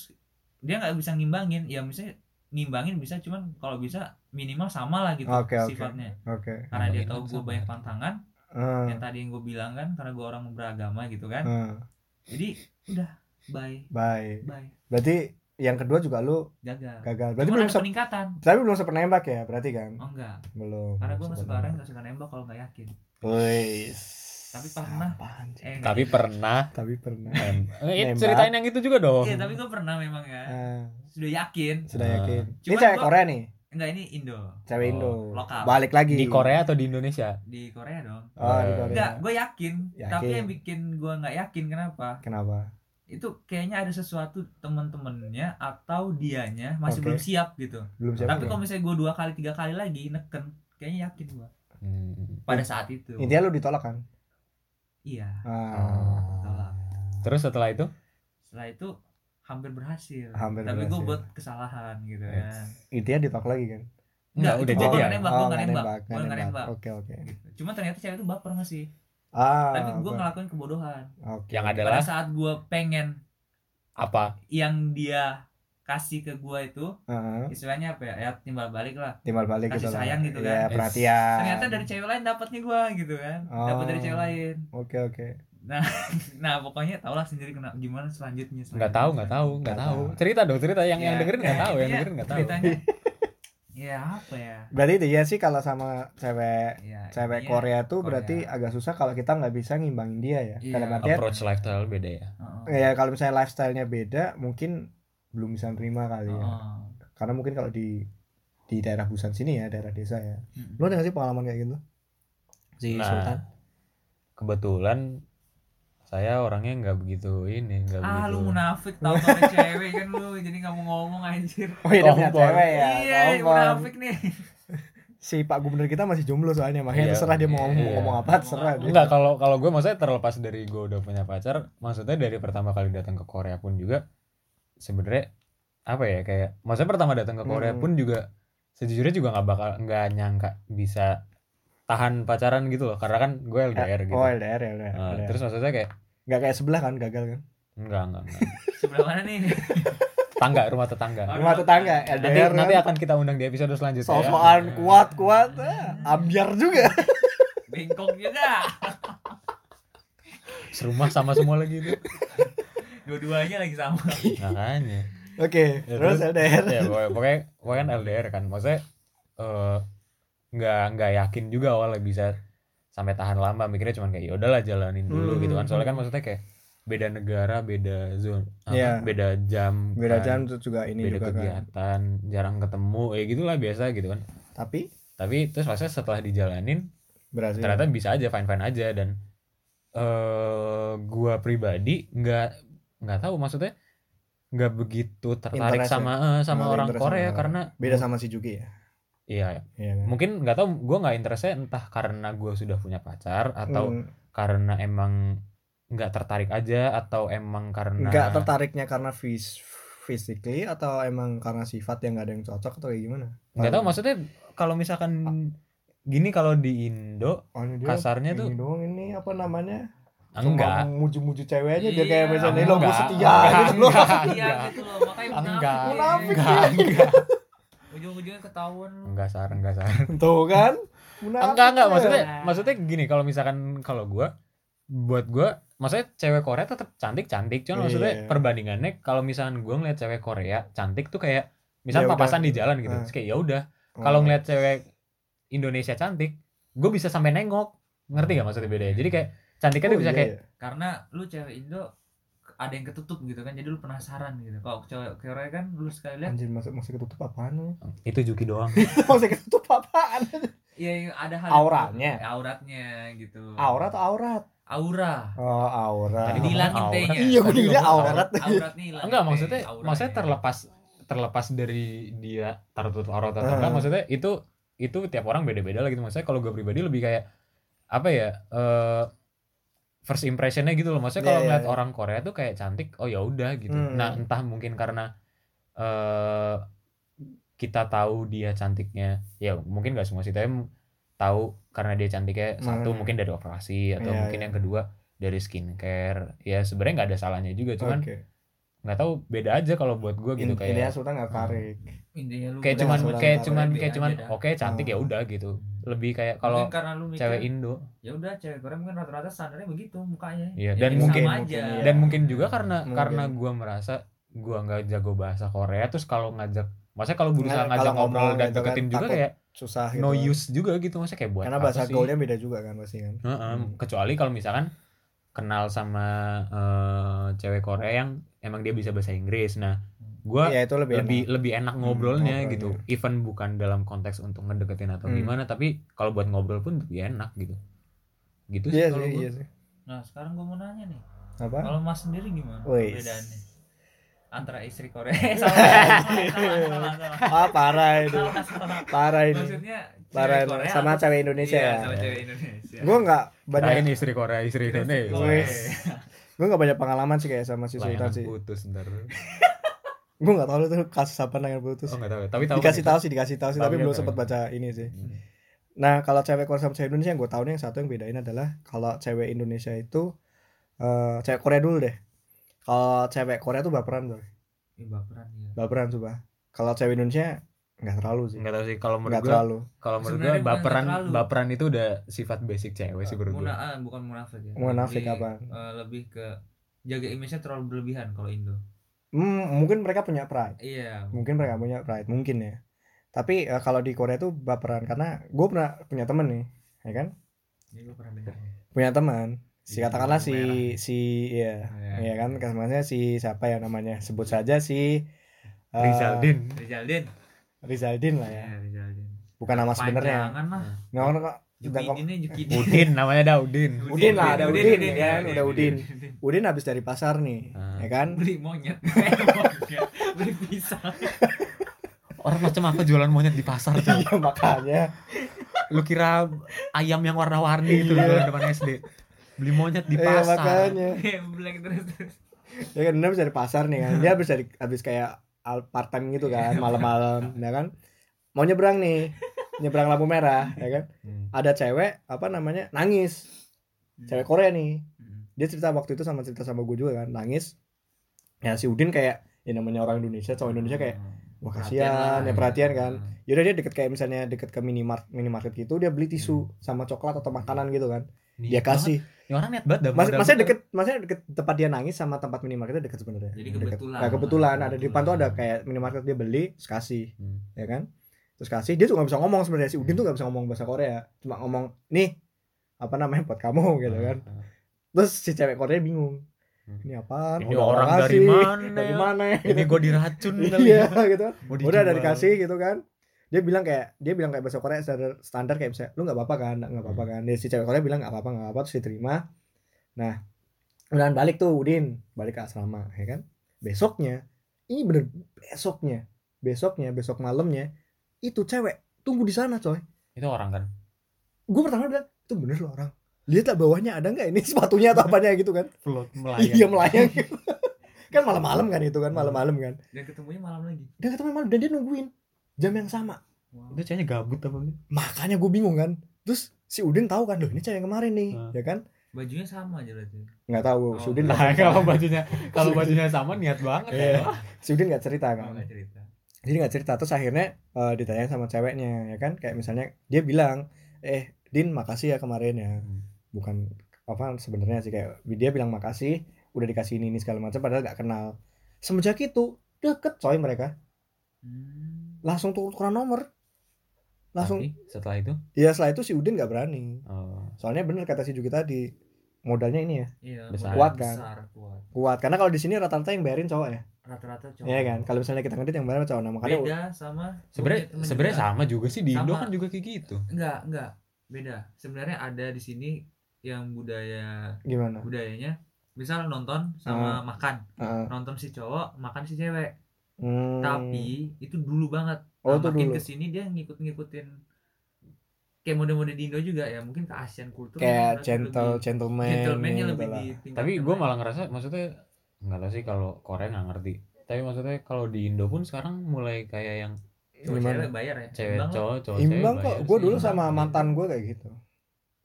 Speaker 3: dia nggak bisa ngimbangin ya misalnya ngimbangin bisa cuman kalau bisa minimal sama lah gitu
Speaker 2: Oke, oke.
Speaker 3: sifatnya Nah, ya.
Speaker 2: Oke.
Speaker 3: karena dia
Speaker 1: Ngimbangin
Speaker 3: tahu
Speaker 1: kan
Speaker 3: gue
Speaker 1: sama.
Speaker 3: banyak pantangan
Speaker 2: Heeh.
Speaker 3: yang tadi yang gue bilang kan karena gue orang beragama gitu kan
Speaker 2: Heeh.
Speaker 3: jadi udah bye
Speaker 2: Bye.
Speaker 3: bye
Speaker 2: Berarti yang kedua juga lu
Speaker 3: gagal
Speaker 2: gagal. Berarti
Speaker 3: cuman
Speaker 2: belum
Speaker 3: ada
Speaker 2: sep-
Speaker 3: peningkatan
Speaker 2: tapi belum sempat nembak ya berarti kan?
Speaker 3: oh enggak
Speaker 2: Belum.
Speaker 3: karena
Speaker 2: belum
Speaker 3: gue
Speaker 2: sempet
Speaker 3: nggak suka orang
Speaker 2: nembak.
Speaker 3: nggak suka nembak kalau nggak yakin
Speaker 2: Wis.
Speaker 3: Tapi pernah.
Speaker 2: Apaan sih?
Speaker 3: eh,
Speaker 1: Tapi pernah.
Speaker 2: Tapi
Speaker 3: <laughs>
Speaker 2: pernah.
Speaker 1: em, eh,
Speaker 2: Nembak.
Speaker 1: ceritain yang itu juga dong.
Speaker 3: Iya, tapi gue pernah memang ya
Speaker 2: Ah,
Speaker 3: sudah yakin
Speaker 2: sudah
Speaker 1: Ah.
Speaker 2: yakin. Ini
Speaker 3: Cuman
Speaker 2: cewek
Speaker 3: gua-
Speaker 2: Korea nih,
Speaker 3: enggak ini Indo
Speaker 2: cewek
Speaker 1: Oh,
Speaker 2: Indo.
Speaker 3: lokal.
Speaker 2: Balik lagi.
Speaker 1: Di Korea atau di Indonesia?
Speaker 3: di Korea dong
Speaker 2: Oh, di Korea.
Speaker 3: enggak gue yakin, tapi
Speaker 2: Yakin.
Speaker 3: yang bikin gue nggak yakin kenapa
Speaker 2: Kenapa?
Speaker 3: itu kayaknya ada sesuatu temen-temennya atau dianya masih
Speaker 2: Oke.
Speaker 3: belum siap gitu.
Speaker 2: Belum siap.
Speaker 3: Tapi
Speaker 2: ya?
Speaker 3: kalau misalnya gue dua kali tiga kali lagi neken, kayaknya yakin gue
Speaker 1: Hmm.
Speaker 3: pada saat itu.
Speaker 2: Iya. Intinya lu ditolak kan?
Speaker 3: Iya.
Speaker 2: Ah,
Speaker 3: Tolak.
Speaker 1: Terus setelah itu?
Speaker 3: Setelah itu hampir berhasil.
Speaker 2: Hampir
Speaker 3: Tapi gue
Speaker 2: berhasil.
Speaker 3: buat kesalahan gitu ya.
Speaker 2: intinya ditolak lagi kan? Oh,
Speaker 1: Enggak, udah
Speaker 3: gue
Speaker 1: jadian.
Speaker 3: nggak nembak, gue ya? Oh, nggak
Speaker 2: nggak
Speaker 3: nembak,
Speaker 2: nggak
Speaker 3: gue nggak nembak.
Speaker 2: Oke oke.
Speaker 3: Gitu. Cuma ternyata cewek itu baper nggak sih?
Speaker 2: Ah.
Speaker 3: Tapi gue
Speaker 2: oke.
Speaker 3: ngelakuin kebodohan.
Speaker 2: Oke.
Speaker 1: Yang
Speaker 3: Pada
Speaker 1: adalah
Speaker 3: saat gue pengen
Speaker 1: apa?
Speaker 3: yang dia kasih ke gue itu
Speaker 2: Heeh.
Speaker 3: istilahnya apa ya? Ya timbal balik lah.
Speaker 2: Ah, Timbal balik gitu
Speaker 3: Kasih
Speaker 2: lah.
Speaker 3: sayang gitu
Speaker 2: Iya,
Speaker 1: kan.
Speaker 2: perhatian.
Speaker 3: Ternyata dari cewek lain dapatnya gue gitu kan. Dapat dari cewek
Speaker 2: Oh.
Speaker 3: lain. <laughs>
Speaker 2: Oke oke.
Speaker 3: Nah pokoknya taulah sendiri kena gimana selanjutnya.
Speaker 1: Nggak tahu, nggak tahu, nggak tahu. Cerita dong, cerita yang yang
Speaker 3: Ya,
Speaker 1: dengerin nggak
Speaker 3: ya,
Speaker 1: tahu, yang
Speaker 3: intinya
Speaker 1: dengerin nggak tahu. <laughs>
Speaker 3: Ceritanya, ya apa ya?
Speaker 2: Berarti itu ya sih kalau sama cewek
Speaker 3: ya
Speaker 2: cewek
Speaker 3: intinya,
Speaker 2: Korea tuh
Speaker 3: Korea.
Speaker 2: berarti agak susah kalau kita nggak bisa ngimbangin dia ya.
Speaker 3: Iya.
Speaker 2: Dalam artian
Speaker 1: Approach lifestyle beda ya.
Speaker 3: uh-uh,
Speaker 2: ya kalau misalnya lifestyle-nya beda mungkin belum bisa nerima kali
Speaker 1: iya.
Speaker 2: ya.
Speaker 3: uh-uh.
Speaker 2: Karena mungkin kalau di di daerah Busan sini ya, daerah desa ya.
Speaker 3: Mm-mm.
Speaker 2: Lu ada nggak sih pengalaman kayak gitu? Si
Speaker 1: Nah,
Speaker 2: Sultan.
Speaker 1: kebetulan saya orangnya nggak begitu ini nggak
Speaker 3: ah
Speaker 1: begitu
Speaker 3: lu munafik tau tau cewek kan lu jadi nggak mau ngomong anjir
Speaker 2: <laughs> Oh iya, dia punya
Speaker 1: Sombong.
Speaker 2: cewek ya.
Speaker 3: iya
Speaker 2: sombong.
Speaker 3: munafik nih
Speaker 2: Si Pak Gubernur kita masih jomblo soalnya,
Speaker 1: Iya,
Speaker 2: makanya terserah dia mau ngomong,
Speaker 1: iya.
Speaker 2: ngomong apa, terserah. dia.
Speaker 1: Enggak, kalau kalau gue maksudnya terlepas dari gue udah punya pacar, maksudnya dari pertama kali datang ke Korea pun juga sebenarnya apa ya kayak maksudnya pertama datang ke Korea
Speaker 2: Hmm.
Speaker 1: pun juga sejujurnya juga nggak bakal nggak nyangka bisa tahan pacaran gitu loh karena kan gue LDR gitu.
Speaker 2: Oh LDR ya, LDR.
Speaker 1: Nah, terus maksudnya kayak
Speaker 2: Nggak kayak sebelah kan, gagal kan?
Speaker 1: enggak enggak, enggak.
Speaker 3: sebelah mana nih
Speaker 1: Tangga rumah
Speaker 2: <laughs>
Speaker 1: tetangga.
Speaker 3: Oh,
Speaker 2: Rumah tetangga,
Speaker 1: Nanti
Speaker 2: LDR
Speaker 1: nanti
Speaker 2: kan.
Speaker 1: akan kita undang di episode selanjutnya. ya.
Speaker 2: Sosokan kuat-kuat, ah, ambiar
Speaker 1: <laughs>
Speaker 2: juga.
Speaker 3: bengkok juga
Speaker 1: Serumah sama semua lagi
Speaker 2: <laughs>
Speaker 1: itu.
Speaker 3: dua-duanya lagi sama
Speaker 1: Makanya.
Speaker 2: Oke,
Speaker 1: Ya,
Speaker 2: terus
Speaker 1: terus-
Speaker 2: LDR.
Speaker 1: ya pokoknya, pokoknya, pokoknya kan LDR kan maksudnya eh, nggak nggak yakin juga awalnya bisa sampai tahan lama mikirnya cuman kayak ya udahlah jalanin dulu
Speaker 2: Hmm.
Speaker 1: gitu kan soalnya kan maksudnya kayak beda negara beda zone apa,
Speaker 2: Iya.
Speaker 1: beda jam
Speaker 2: Beda
Speaker 1: kan,
Speaker 2: jam terus juga ini
Speaker 1: beda
Speaker 2: juga kan.
Speaker 1: kegiatan jarang ketemu ya gitulah biasa gitu kan
Speaker 2: Tapi
Speaker 1: tapi terus maksudnya setelah dijalanin
Speaker 2: berhasil.
Speaker 1: ternyata bisa aja fine fine aja dan eh gua pribadi nggak nggak tahu maksudnya nggak begitu tertarik
Speaker 2: Interest ya?
Speaker 1: sama eh, sama
Speaker 2: Nggak
Speaker 1: orang
Speaker 2: interest sama
Speaker 1: Korea
Speaker 2: orang.
Speaker 1: karena
Speaker 2: Beda sama si Juki ya.
Speaker 1: iya
Speaker 2: Iya kan.
Speaker 1: mungkin nggak tahu gua nggak interestnya entah karena gua sudah punya pacar atau
Speaker 2: Hmm,
Speaker 1: karena emang nggak tertarik aja atau emang karena
Speaker 2: nggak tertariknya karena fis physically atau emang karena sifat yang nggak ada yang cocok atau kayak gimana?
Speaker 1: nggak tahu maksudnya kalau misalkan gini kalau di Indo
Speaker 2: Oh, ini dia
Speaker 1: kasarnya
Speaker 2: ini
Speaker 1: tuh
Speaker 2: doang ini apa namanya?
Speaker 1: enggak
Speaker 2: Cuma muju-muju ceweknya dia kayak
Speaker 3: Iya.
Speaker 2: misalnya lo gue
Speaker 1: Enggak.
Speaker 2: setia
Speaker 1: Enggak.
Speaker 2: gitu loh.
Speaker 3: iya gitu loh makanya
Speaker 1: enggak
Speaker 2: Munafik.
Speaker 3: munafik ya.
Speaker 1: enggak enggak
Speaker 3: ujung-ujungnya ketahuan lu.
Speaker 1: enggak sar enggak sar
Speaker 2: <laughs> Tuh kan? Munafik
Speaker 1: enggak enggak
Speaker 2: ya.
Speaker 1: maksudnya
Speaker 3: Nah.
Speaker 1: maksudnya gini kalau misalkan kalau gua buat gua maksudnya cewek Korea tetap cantik cantik cuman maksudnya
Speaker 2: Iya.
Speaker 1: perbandingannya kalau misalkan gua ngeliat cewek Korea cantik tuh kayak misal
Speaker 2: Ya udah.
Speaker 1: papasan di jalan gitu
Speaker 2: Ah.
Speaker 1: Terus kayak ya udah kalau
Speaker 2: Oh.
Speaker 1: ngeliat cewek Indonesia cantik gue bisa sampai nengok ngerti gak maksudnya bedanya jadi kayak cantiknya tuh
Speaker 2: Oh,
Speaker 1: bisa
Speaker 2: iya,
Speaker 1: kayak
Speaker 2: iya.
Speaker 3: karena lu cewek Indo ada yang ketutup gitu kan jadi lu penasaran gitu kalau cewek Korea kan lu sekali lihat
Speaker 2: anjir masuk masih ketutup apaan lu?
Speaker 1: itu Juki doang
Speaker 2: <laughs> masih ketutup apaan?
Speaker 3: ya yang ada hal
Speaker 2: Auranya.
Speaker 3: auratnya gitu
Speaker 2: Aura atau aurat?
Speaker 3: aura
Speaker 2: Oh, aura.
Speaker 1: Tadi
Speaker 3: Jadi hilangin
Speaker 1: Aurat.
Speaker 3: tehnya
Speaker 2: Iya, gue
Speaker 1: Tadi
Speaker 2: kira
Speaker 1: ngomong
Speaker 2: aurat.
Speaker 3: aurat nih hilangin
Speaker 1: enggak
Speaker 3: teh,
Speaker 1: maksudnya
Speaker 3: auranya.
Speaker 1: maksudnya terlepas terlepas dari dia tertutup aurat atau
Speaker 2: Ah.
Speaker 1: enggak maksudnya itu itu tiap orang beda-beda lah gitu maksudnya kalau gue pribadi lebih kayak apa ya eh first impressionnya gitu loh maksudnya
Speaker 2: Iya,
Speaker 1: kalau
Speaker 2: iya,
Speaker 1: ngeliat
Speaker 2: iya.
Speaker 1: orang Korea tuh kayak cantik oh ya udah gitu
Speaker 2: Hmm.
Speaker 1: nah entah mungkin karena eh kita tahu dia cantiknya ya mungkin gak semua sih tapi m- tahu karena dia cantiknya satu
Speaker 2: Hmm.
Speaker 1: mungkin dari operasi atau
Speaker 2: Iya,
Speaker 1: mungkin
Speaker 2: iya.
Speaker 1: yang kedua dari skincare ya sebenarnya nggak ada salahnya juga cuman
Speaker 2: Oke.
Speaker 1: nggak tahu beda aja kalau buat gua gitu
Speaker 2: In- Intinya
Speaker 1: kayak Oh.
Speaker 2: sultan nggak tarik.
Speaker 3: Intinya lu
Speaker 1: kayak
Speaker 2: udah
Speaker 1: cuman
Speaker 2: nggak usah
Speaker 1: kayak
Speaker 2: ntar,
Speaker 1: cuman
Speaker 3: lebih
Speaker 1: kayak
Speaker 3: aja
Speaker 1: cuman
Speaker 3: dah.
Speaker 1: oke cantik
Speaker 2: Ah.
Speaker 1: ya udah gitu lebih kayak
Speaker 3: kalau
Speaker 1: kalau
Speaker 3: karena lu mikir,
Speaker 1: cewek Indo
Speaker 3: ya udah cewek Korea mungkin rata-rata standarnya begitu mukanya
Speaker 1: Iya,
Speaker 3: Ya,
Speaker 1: dan
Speaker 3: sama
Speaker 1: mungkin-
Speaker 3: aja.
Speaker 2: mungkin, iya.
Speaker 1: dan mungkin juga karena
Speaker 2: Mungkin.
Speaker 1: karena gua merasa gua nggak jago bahasa Korea terus kalau ngajak maksudnya kalau berusaha
Speaker 2: Nggak,
Speaker 1: ngajak
Speaker 2: kalau
Speaker 1: ngobrol
Speaker 2: ngomong
Speaker 1: dan
Speaker 2: gitu kan,
Speaker 1: deketin juga
Speaker 2: takut
Speaker 1: kayak
Speaker 2: Susah gitu.
Speaker 1: no use juga gitu maksudnya kayak buat
Speaker 2: Karena
Speaker 1: apa
Speaker 2: bahasa
Speaker 1: sih?
Speaker 2: gaulnya beda juga kan pasti kan.
Speaker 1: Heeh, kecuali kalau misalkan kenal sama eh, cewek Korea yang emang dia bisa bahasa Inggris nah gua
Speaker 2: Iya, itu lebih
Speaker 1: lebih
Speaker 2: enak.
Speaker 1: lebih enak ngobrolnya
Speaker 2: Hmm, ngobrolnya.
Speaker 1: gitu even bukan dalam konteks untuk ngedeketin atau
Speaker 2: Hmm.
Speaker 1: gimana tapi kalau buat ngobrol pun lebih enak gitu gitu sih
Speaker 2: Iya
Speaker 1: kalau
Speaker 2: sih,
Speaker 1: gua.
Speaker 2: iya sih.
Speaker 3: nah sekarang gue mau nanya nih
Speaker 2: Apa?
Speaker 3: kalau mas sendiri gimana
Speaker 2: Wis.
Speaker 3: perbedaannya antara istri Korea <laughs> salah salah salah salah
Speaker 2: Ah, parah itu.
Speaker 3: salah salah
Speaker 2: Parah ini.
Speaker 3: maksudnya cewek
Speaker 2: Parah ini.
Speaker 3: Korea
Speaker 2: Sama
Speaker 3: atau-
Speaker 2: cewek Indonesia
Speaker 3: Iya,
Speaker 2: ya.
Speaker 3: sama cewek Indonesia
Speaker 2: Gue nggak banyak
Speaker 1: Kirain istri Korea istri Indonesia
Speaker 2: Korea. Wis. gue nggak banyak pengalaman sih kayak sama si Sultan
Speaker 1: layanan
Speaker 2: sih
Speaker 1: putus ntar oh
Speaker 2: gue nggak tahu itu kasus apa yang putus
Speaker 1: nggak tahu tapi tahu
Speaker 2: dikasih
Speaker 1: kan
Speaker 2: tahu sih dikasih tahu sih
Speaker 1: Tahu
Speaker 2: tapi
Speaker 1: kan,
Speaker 2: belum
Speaker 1: tahu
Speaker 2: sempat
Speaker 1: kan.
Speaker 2: baca ini sih
Speaker 1: itu? Hmm.
Speaker 2: nah kalau cewek Korea sama cewek Indonesia yang gue tahu nih yang satu yang bedain adalah kalau cewek Indonesia itu eh cewek Korea dulu deh kalau cewek Korea tuh baperan tuh
Speaker 3: Ih, baperan ya
Speaker 2: baperan coba kalau cewek Indonesia nggak terlalu sih
Speaker 1: nggak tahu sih kalau menurut
Speaker 2: nggak
Speaker 1: gua
Speaker 2: terlalu
Speaker 1: kalau menurut gua
Speaker 3: Sebenarnya bukan
Speaker 1: baperan
Speaker 3: nggak terlalu.
Speaker 1: baperan itu udah sifat basic cewek sih menurut gua
Speaker 3: Muna- ah, bukan munafik ya
Speaker 2: Munafik
Speaker 1: Iya.
Speaker 3: Lebih,
Speaker 2: apa?
Speaker 3: eh, lebih ke jaga image-nya terlalu berlebihan kalau Indo
Speaker 2: Hmm, mungkin mereka punya pride
Speaker 3: iya
Speaker 2: mungkin mereka punya pride mungkin ya tapi eh, kalau di Korea tuh baperan karena gue pernah punya temen nih ya kan
Speaker 3: ini gue pernah dengar
Speaker 2: punya teman si
Speaker 3: Iya,
Speaker 2: katakanlah si
Speaker 3: merah.
Speaker 2: si ya ya
Speaker 3: Iya.
Speaker 2: kan katakanlah si siapa ya namanya sebut saja si eh,
Speaker 1: Rizaldin
Speaker 3: Rizaldin
Speaker 2: Rizaldin lah ya
Speaker 3: Iya, Rizaldin
Speaker 2: bukan nama sebenarnya
Speaker 3: Panjangan lah
Speaker 2: nggak nggak- Sedangkan-
Speaker 3: Jukidin ya Jukidin.
Speaker 1: Udin namanya dah Udin.
Speaker 2: Udin lah, ada Udin, ya kan?
Speaker 3: Udin,
Speaker 2: Udah Udin.
Speaker 3: Udin.
Speaker 2: Udin habis dari pasar nih,
Speaker 1: Ah.
Speaker 2: ya kan? <laughs>
Speaker 3: Beli monyet. <laughs> Monyet. Beli pisang.
Speaker 1: Orang macam apa jualan monyet di pasar tuh?
Speaker 2: Iya makanya.
Speaker 1: Lu kira ayam yang warna-warni itu jualan depan SD. Beli monyet di
Speaker 2: Iya
Speaker 1: pasar.
Speaker 2: makanya.
Speaker 3: Black terus terus.
Speaker 2: Ya kan, dia habis dari pasar nih kan. Dia habis dari habis kayak al- part time gitu kan,
Speaker 3: Iya.
Speaker 2: malam-malam, ya kan? Mau nyebrang nih, nyebrang lampu merah, ya kan?
Speaker 1: Hmm.
Speaker 2: Ada cewek apa namanya nangis, cewek Korea nih.
Speaker 3: Hmm.
Speaker 2: Dia cerita waktu itu sama cerita sama gue juga kan, nangis. Ya si Udin kayak ya namanya orang Indonesia, cowok Indonesia kayak wah kasihan,
Speaker 3: Perhatian lah,
Speaker 2: ya perhatian kan.
Speaker 3: Ah.
Speaker 2: Yaudah dia deket kayak misalnya deket ke minimart minimarket gitu dia beli tisu
Speaker 3: Hmm.
Speaker 2: sama coklat atau makanan gitu kan.
Speaker 1: Niat
Speaker 2: Dia
Speaker 3: Iya
Speaker 2: kasih.
Speaker 1: banget. Ya, orang niat banget dah.
Speaker 2: Mas,
Speaker 1: modal
Speaker 2: masnya
Speaker 1: gitu.
Speaker 2: deket, masnya deket tempat dia nangis sama tempat minimarketnya deket sebenarnya.
Speaker 3: Jadi
Speaker 2: Deket.
Speaker 3: kebetulan.
Speaker 2: Nah, kebetulan ada di depan tuh ada
Speaker 1: Kebetulan.
Speaker 2: kayak minimarket dia beli, terus kasih,
Speaker 1: Hmm.
Speaker 2: ya kan? Terus kasih, dia tuh nggak bisa ngomong sebenarnya si Udin tuh nggak bisa ngomong bahasa Korea, cuma ngomong nih apa namanya buat kamu gitu kan. Terus si cewek Korea bingung.
Speaker 1: Hmm.
Speaker 2: Ini apaan?
Speaker 1: Ini
Speaker 2: Udah
Speaker 1: orang
Speaker 2: kasih,
Speaker 1: dari mana?
Speaker 2: <laughs> Dari mana? ya?
Speaker 1: Ini gue diracun kali.
Speaker 2: Iya gitu.
Speaker 1: Mau
Speaker 2: udah
Speaker 1: dijual.
Speaker 2: dari kasih gitu kan dia bilang kayak dia bilang kayak bahasa Korea standar standar kayak misalnya lu nggak apa-apa kan nggak apa-apa
Speaker 1: Hmm.
Speaker 2: kan dia si cewek Korea bilang nggak apa-apa nggak apa-apa terus diterima nah udah balik tuh Udin balik ke asrama ya kan besoknya ini bener besoknya besoknya besok malamnya itu cewek tunggu di sana coy
Speaker 1: Itu orang kan.
Speaker 2: gue pertama bilang itu bener loh orang lihat lah bawahnya ada nggak ini <laughs> sepatunya atau apanya gitu kan
Speaker 1: Float melayang. gitu.
Speaker 2: iya
Speaker 1: <laughs>
Speaker 2: melayang kan malam-malam kan itu kan malam-malam kan
Speaker 1: Hmm.
Speaker 3: Dan ketemunya malam lagi.
Speaker 2: dia ketemu malam dan dia nungguin jam yang sama
Speaker 3: Wow.
Speaker 1: Itu ceweknya gabut apa gitu.
Speaker 2: makanya gue bingung kan terus si Udin tahu kan loh ini cewek yang kemarin nih
Speaker 1: Hmm.
Speaker 2: ya kan
Speaker 3: Bajunya sama aja berarti.
Speaker 2: nggak tahu si
Speaker 3: Oh.
Speaker 2: Udin
Speaker 1: Nah, kalau bajunya kalau bajunya sama niat banget
Speaker 2: Iya.
Speaker 1: ya.
Speaker 2: si Udin nggak cerita
Speaker 3: Kalau
Speaker 2: kan
Speaker 3: nggak cerita.
Speaker 2: jadi nggak cerita terus akhirnya eh, ditanya sama ceweknya ya kan kayak misalnya dia bilang eh Din makasih ya kemarin ya
Speaker 1: Hmm.
Speaker 2: bukan apa sebenarnya sih kayak dia bilang makasih udah dikasih ini, ini segala macam padahal nggak kenal semenjak itu deket coy mereka
Speaker 3: Hmm.
Speaker 2: langsung tukeran nomor langsung
Speaker 1: Tapi setelah itu
Speaker 2: ya setelah itu si Udin nggak berani
Speaker 1: oh,
Speaker 2: soalnya bener kata si Juki tadi modalnya ini ya
Speaker 3: Iya,
Speaker 1: Besar.
Speaker 2: Kuat
Speaker 3: modal
Speaker 2: kan?
Speaker 3: Besar, kuat.
Speaker 2: kuat karena kalau di sini rata-rata yang bayarin cowok ya
Speaker 3: Rata-rata cowok.
Speaker 2: Iya kan, kalau misalnya kita ngedit yang benar cowok nah, nama karena
Speaker 3: Oh. Beda sama
Speaker 1: sebenarnya
Speaker 3: temen
Speaker 1: sebenarnya
Speaker 3: kita.
Speaker 1: sama juga sih di Indo
Speaker 3: Sama.
Speaker 1: kan juga kayak gitu.
Speaker 3: Enggak, enggak. Beda. Sebenarnya ada di sini yang budaya
Speaker 2: gimana?
Speaker 3: budayanya misal nonton
Speaker 2: Ah.
Speaker 3: sama makan.
Speaker 2: Heeh.
Speaker 3: Nonton si cowok, makan si cewek.
Speaker 2: Hmm.
Speaker 3: Tapi itu dulu banget.
Speaker 2: oh
Speaker 3: Nah,
Speaker 2: itu
Speaker 3: makin
Speaker 2: dulu.
Speaker 3: kesini dia ngikut-ngikutin kayak mode-mode di Indo juga ya, mungkin ke Asian kultur
Speaker 2: Kayak
Speaker 3: lebih-
Speaker 2: gentle gentleman,
Speaker 3: gentleman-nya
Speaker 2: gitu
Speaker 3: lebih
Speaker 2: lah.
Speaker 3: ditingkatkan ya.
Speaker 1: Tapi gue
Speaker 3: lagi.
Speaker 1: malah ngerasa maksudnya nggak tahu sih kalau Korea nggak ngerti. Tapi maksudnya kalau di Indo pun sekarang mulai kayak yang
Speaker 3: Cowok
Speaker 2: Gimana?
Speaker 3: cewek bayar ya
Speaker 1: cewek
Speaker 3: Imbang lah.
Speaker 1: cowok cowok
Speaker 2: Imbang
Speaker 1: cewek
Speaker 2: kok,
Speaker 1: bayar
Speaker 2: gue
Speaker 1: sih.
Speaker 2: dulu
Speaker 3: Imbang.
Speaker 2: sama mantan gue kayak gitu.
Speaker 1: Ah,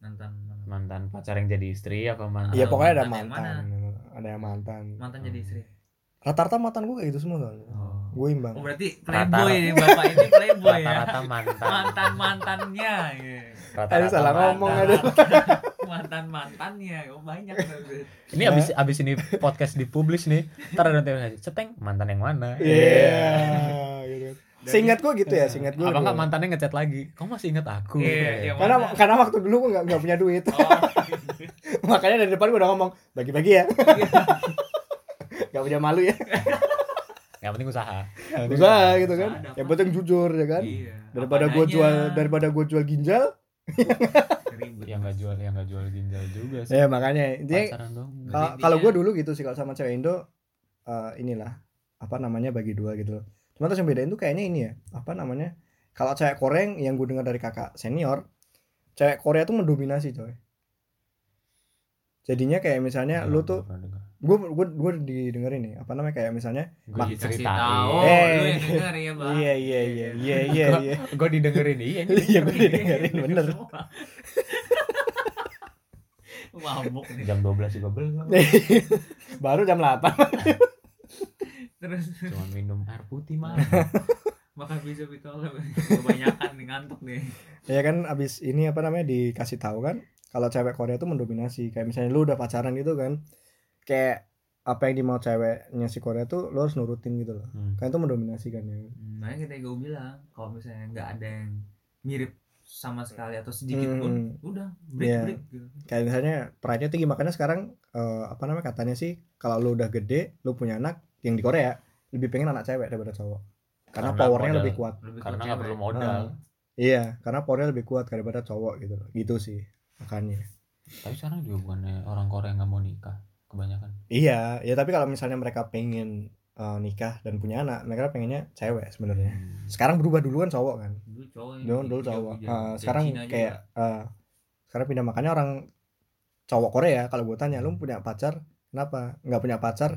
Speaker 3: mantan mantan.
Speaker 1: mantan pacar yang jadi istri apa mantan?
Speaker 2: Iya
Speaker 3: Ah,
Speaker 2: pokoknya ada
Speaker 3: mantan yang
Speaker 2: mantan, ada yang mantan.
Speaker 3: mantan jadi istri
Speaker 2: Rata-rata mantan gue kayak gitu semua soalnya.
Speaker 1: Oh.
Speaker 2: Gue imbang.
Speaker 3: oh berarti
Speaker 1: Rata-rata.
Speaker 3: playboy nih bapak ini playboy ya
Speaker 1: Rata-rata Oh, iya. mantan.
Speaker 3: mantan mantannya ya.
Speaker 1: Rata-rata
Speaker 2: Eh, salah
Speaker 1: mantan.
Speaker 2: ngomong aduh.
Speaker 3: <laughs> mantan mantannya oh banyak banget.
Speaker 1: Ini abis abis ini podcast dipublish nih. Ntar ada nanti aja. Ceteng mantan yang mana?
Speaker 2: Iya. <laughs> gitu kan.
Speaker 3: Dari-
Speaker 2: Seingat gue gitu ya, seingat gue.
Speaker 1: Apa nggak
Speaker 2: gitu.
Speaker 1: mantannya ngechat lagi? Kamu masih ingat aku?
Speaker 3: Iya, iya,
Speaker 1: Iya.
Speaker 3: Mak.
Speaker 2: Karena karena waktu dulu gue nggak nggak punya duit, <laughs>
Speaker 3: oh
Speaker 2: makanya dari depan gue udah ngomong bagi-bagi ya.
Speaker 3: Iya.
Speaker 2: <laughs> Gak punya malu ya,
Speaker 1: Yang penting usaha.
Speaker 2: usaha gitu kan.
Speaker 3: Usaha,
Speaker 2: Yang penting jujur ya kan.
Speaker 3: iya
Speaker 2: daripada
Speaker 3: Apa
Speaker 2: gue
Speaker 3: adanya.
Speaker 2: jual daripada gue jual ginjal
Speaker 1: Yang
Speaker 3: ribet
Speaker 1: Ya, nggak jual yang nggak jual ginjal juga sih.
Speaker 2: ya makanya intinya
Speaker 1: Pacaran dong.
Speaker 3: Jadi
Speaker 2: kalau-
Speaker 3: intinya-
Speaker 2: kalau gue dulu gitu sih kalau sama cewek Indo eh, inilah apa namanya bagi dua gitu loh cuma terus yang bedain tuh kayaknya ini ya apa namanya kalau cewek Korea yang- yang gue dengar dari kakak senior cewek Korea tuh mendominasi coy jadinya kayak misalnya lu tuh gue gue gue didengerin nih apa namanya kayak misalnya
Speaker 1: Gue
Speaker 3: Dikasih
Speaker 1: diceritain.
Speaker 3: tahu,
Speaker 2: Eh.
Speaker 3: lu yang denger ya Bang.
Speaker 2: iya iya iya iya iya iya
Speaker 1: Gue didengerin
Speaker 2: <laughs>
Speaker 1: iya.
Speaker 2: iya gue didengerin bener
Speaker 3: Semua. <laughs> mabuk nih
Speaker 1: Jam 12 juga belum.
Speaker 2: baru jam 8
Speaker 3: terus
Speaker 1: Cuma minum air putih
Speaker 2: <laughs>
Speaker 1: malam.
Speaker 3: makan bisa bitola kebanyakan nih ngantuk nih
Speaker 2: ya kan abis ini apa namanya dikasih tahu kan kalau cewek Korea tuh mendominasi kayak misalnya lu udah pacaran gitu kan kayak apa yang dimau ceweknya si Korea tuh lu harus nurutin gitu loh
Speaker 1: Hmm.
Speaker 2: kan itu mendominasi kan ya
Speaker 3: Hmm, makanya kita gue bilang kalau misalnya nggak ada yang mirip sama sekali atau sedikit pun
Speaker 2: Hmm.
Speaker 3: udah break
Speaker 2: Iya.
Speaker 3: break gitu.
Speaker 2: kayak misalnya pride-nya tinggi makanya sekarang eh, apa namanya katanya sih kalau lu udah gede lu punya anak yang di Korea lebih pengen anak cewek daripada cowok karena,
Speaker 1: Karena
Speaker 2: powernya
Speaker 1: modal.
Speaker 2: lebih kuat
Speaker 3: Lebih
Speaker 1: Karena
Speaker 3: ke
Speaker 1: nggak
Speaker 3: cewek.
Speaker 1: perlu modal.
Speaker 2: Iya, karena Korea lebih kuat daripada cowok gitu loh. Gitu sih makanya.
Speaker 1: Tapi sekarang juga bukannya orang Korea nggak mau nikah kebanyakan.
Speaker 2: Iya, ya tapi kalau misalnya mereka pengen eh, nikah dan punya anak, mereka pengennya cewek sebenarnya.
Speaker 1: Hmm.
Speaker 2: Sekarang berubah duluan cowok kan.
Speaker 3: dulu cowok yang
Speaker 2: Dulu, dulu cowok.
Speaker 3: hijau-hijau.
Speaker 2: Eh,
Speaker 3: Dan
Speaker 2: sekarang
Speaker 3: iya, Cina juga.
Speaker 2: kayak eh, sekarang pindah makanya orang cowok Korea kalau gue tanya
Speaker 3: Hmm.
Speaker 2: lu punya pacar kenapa nggak punya pacar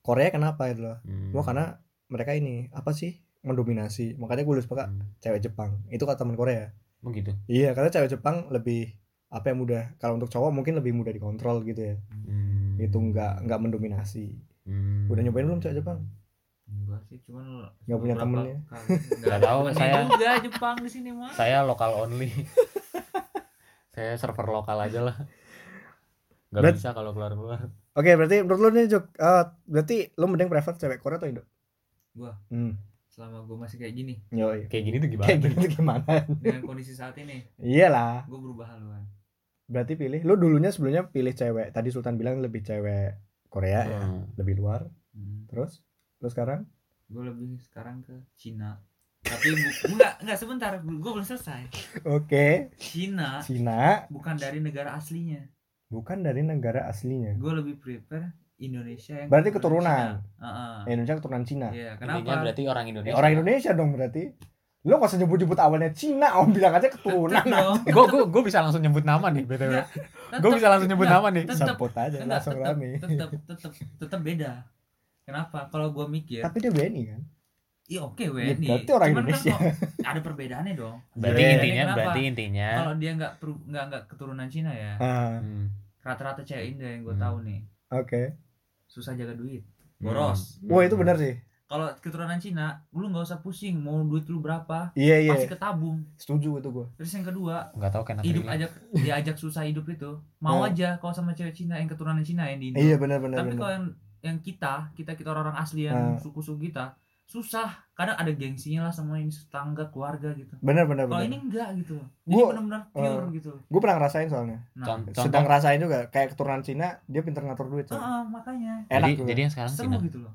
Speaker 2: Korea kenapa itu loh
Speaker 1: Hmm.
Speaker 2: Gua karena mereka ini apa sih mendominasi makanya gue suka
Speaker 1: Hmm. Oh, gitu?
Speaker 2: cewek Jepang itu kata teman Korea
Speaker 1: begitu.
Speaker 2: Iya, karena cewek Jepang lebih apa yang mudah. Kalau untuk cowok mungkin lebih mudah dikontrol gitu ya.
Speaker 1: Hmm.
Speaker 2: Itu nggak nggak mendominasi.
Speaker 1: Hmm.
Speaker 2: Udah nyobain belum cewek Jepang?
Speaker 3: Enggak sih, cuman lo-
Speaker 2: Nggak punya
Speaker 3: beberapa
Speaker 2: temennya.
Speaker 3: kali.
Speaker 1: <laughs> Nggak tahu,
Speaker 3: Temennya
Speaker 1: saya-
Speaker 3: juga Jepang di sini mah.
Speaker 1: Saya lokal only. <laughs> Saya server lokal aja lah. Gak
Speaker 2: Bet-
Speaker 1: bisa kalau keluar-keluar.
Speaker 2: Oke, berarti menurut lu nih Juk, eh, berarti lu mending prefer cewek Korea atau Indo?
Speaker 3: Gua.
Speaker 2: Hmm.
Speaker 3: Selama gue masih kayak gini
Speaker 2: Yoi.
Speaker 1: Kayak gini tuh gimana? Hmm.
Speaker 2: Kayak gitu gimana? <laughs>
Speaker 3: dengan kondisi saat ini,
Speaker 2: Iyalah,
Speaker 3: gue berubah haluan.
Speaker 2: berarti pilih. Lu dulunya sebelumnya pilih cewek. Tadi Sultan bilang lebih cewek Korea
Speaker 3: Iya.
Speaker 2: ya,
Speaker 1: Hmm.
Speaker 2: lebih luar. Terus lu sekarang?
Speaker 3: Gue lebih sekarang ke Cina. Tapi bu- enggak, enggak sebentar, gue belum selesai.
Speaker 2: Oke,
Speaker 3: Cina
Speaker 2: Cina
Speaker 3: bukan dari negara aslinya.
Speaker 2: bukan dari negara aslinya.
Speaker 3: Gue lebih prefer Indonesia yang
Speaker 2: Berarti Eh, Nah,
Speaker 3: Cina. Heeh.
Speaker 2: Indonesia keturunan Cina.
Speaker 3: Iya, kenapa?
Speaker 1: Intinya berarti orang Indonesia.
Speaker 2: Ya, orang Indonesia dong berarti. Lu gak usah nyebut-nyebut awalnya Cina, om bilang aja keturunan.
Speaker 3: Tetep dong.
Speaker 1: Gue gue gue bisa langsung nyebut nama nih btw.
Speaker 3: Nggak,
Speaker 2: <laughs>
Speaker 1: Gue bisa langsung nyebut
Speaker 3: Nggak,
Speaker 1: nama nih.
Speaker 3: tetep.
Speaker 2: Sebut aja
Speaker 3: Enggak,
Speaker 2: langsung
Speaker 3: tetep-
Speaker 2: rame.
Speaker 3: Tetep, tetep, tetep beda. Kenapa? Kalau gue mikir,
Speaker 2: Tapi dia BNI kan?
Speaker 3: iya oke
Speaker 2: Ya,
Speaker 3: WNI.
Speaker 2: berarti orang
Speaker 3: Cuman kan
Speaker 2: Indonesia.
Speaker 3: kok ada perbedaannya dong.
Speaker 1: <laughs> Berarti
Speaker 2: Iya.
Speaker 1: intinya
Speaker 3: Kenapa?
Speaker 1: berarti ya. intinya.
Speaker 3: Kalau dia nggak peru- nggak nggak keturunan Cina ya,
Speaker 2: Ah,
Speaker 1: Hmm.
Speaker 3: rata-rata cewek Indo yang gue
Speaker 1: Hmm.
Speaker 3: tahu nih
Speaker 2: oke.
Speaker 3: Hmm. susah jaga duit. Boros.
Speaker 1: Hmm.
Speaker 2: Wah, itu benar sih.
Speaker 3: Kalau keturunan Cina, lu nggak usah pusing mau duit lu berapa,
Speaker 2: Iya, iya.
Speaker 3: pasti ketabung.
Speaker 2: Setuju itu gua.
Speaker 3: Terus yang kedua,
Speaker 1: Nggak tahu kenapa.
Speaker 3: hidup aja diajak susah hidup itu mau
Speaker 2: Hmm.
Speaker 3: aja kalau sama cewek Cina yang keturunan Cina yang di Indo
Speaker 2: Iya, benar benar
Speaker 3: Gitu. tapi kalau
Speaker 2: benar.
Speaker 3: yang yang kita kita kita orang-orang asli
Speaker 2: Hmm.
Speaker 3: yang suku-suku kita susah kadang ada gengsinya lah sama ini tetangga keluarga gitu
Speaker 2: Benar benar Iya,
Speaker 3: kalau
Speaker 2: benar.
Speaker 3: ini enggak gitu jadi
Speaker 2: Gua- ah.
Speaker 3: benar-benar pure gitu
Speaker 2: Gua pernah ngerasain soalnya.
Speaker 3: nah
Speaker 1: Contoh.
Speaker 2: Sedang ngerasain juga kayak keturunan Cina, dia pinter ngatur duit.
Speaker 3: ah,
Speaker 2: soalnya.
Speaker 3: ah, makanya
Speaker 1: Jadi,
Speaker 2: Enak juga.
Speaker 1: jadi yang sekarang
Speaker 3: seru
Speaker 1: Cina.
Speaker 3: gitu loh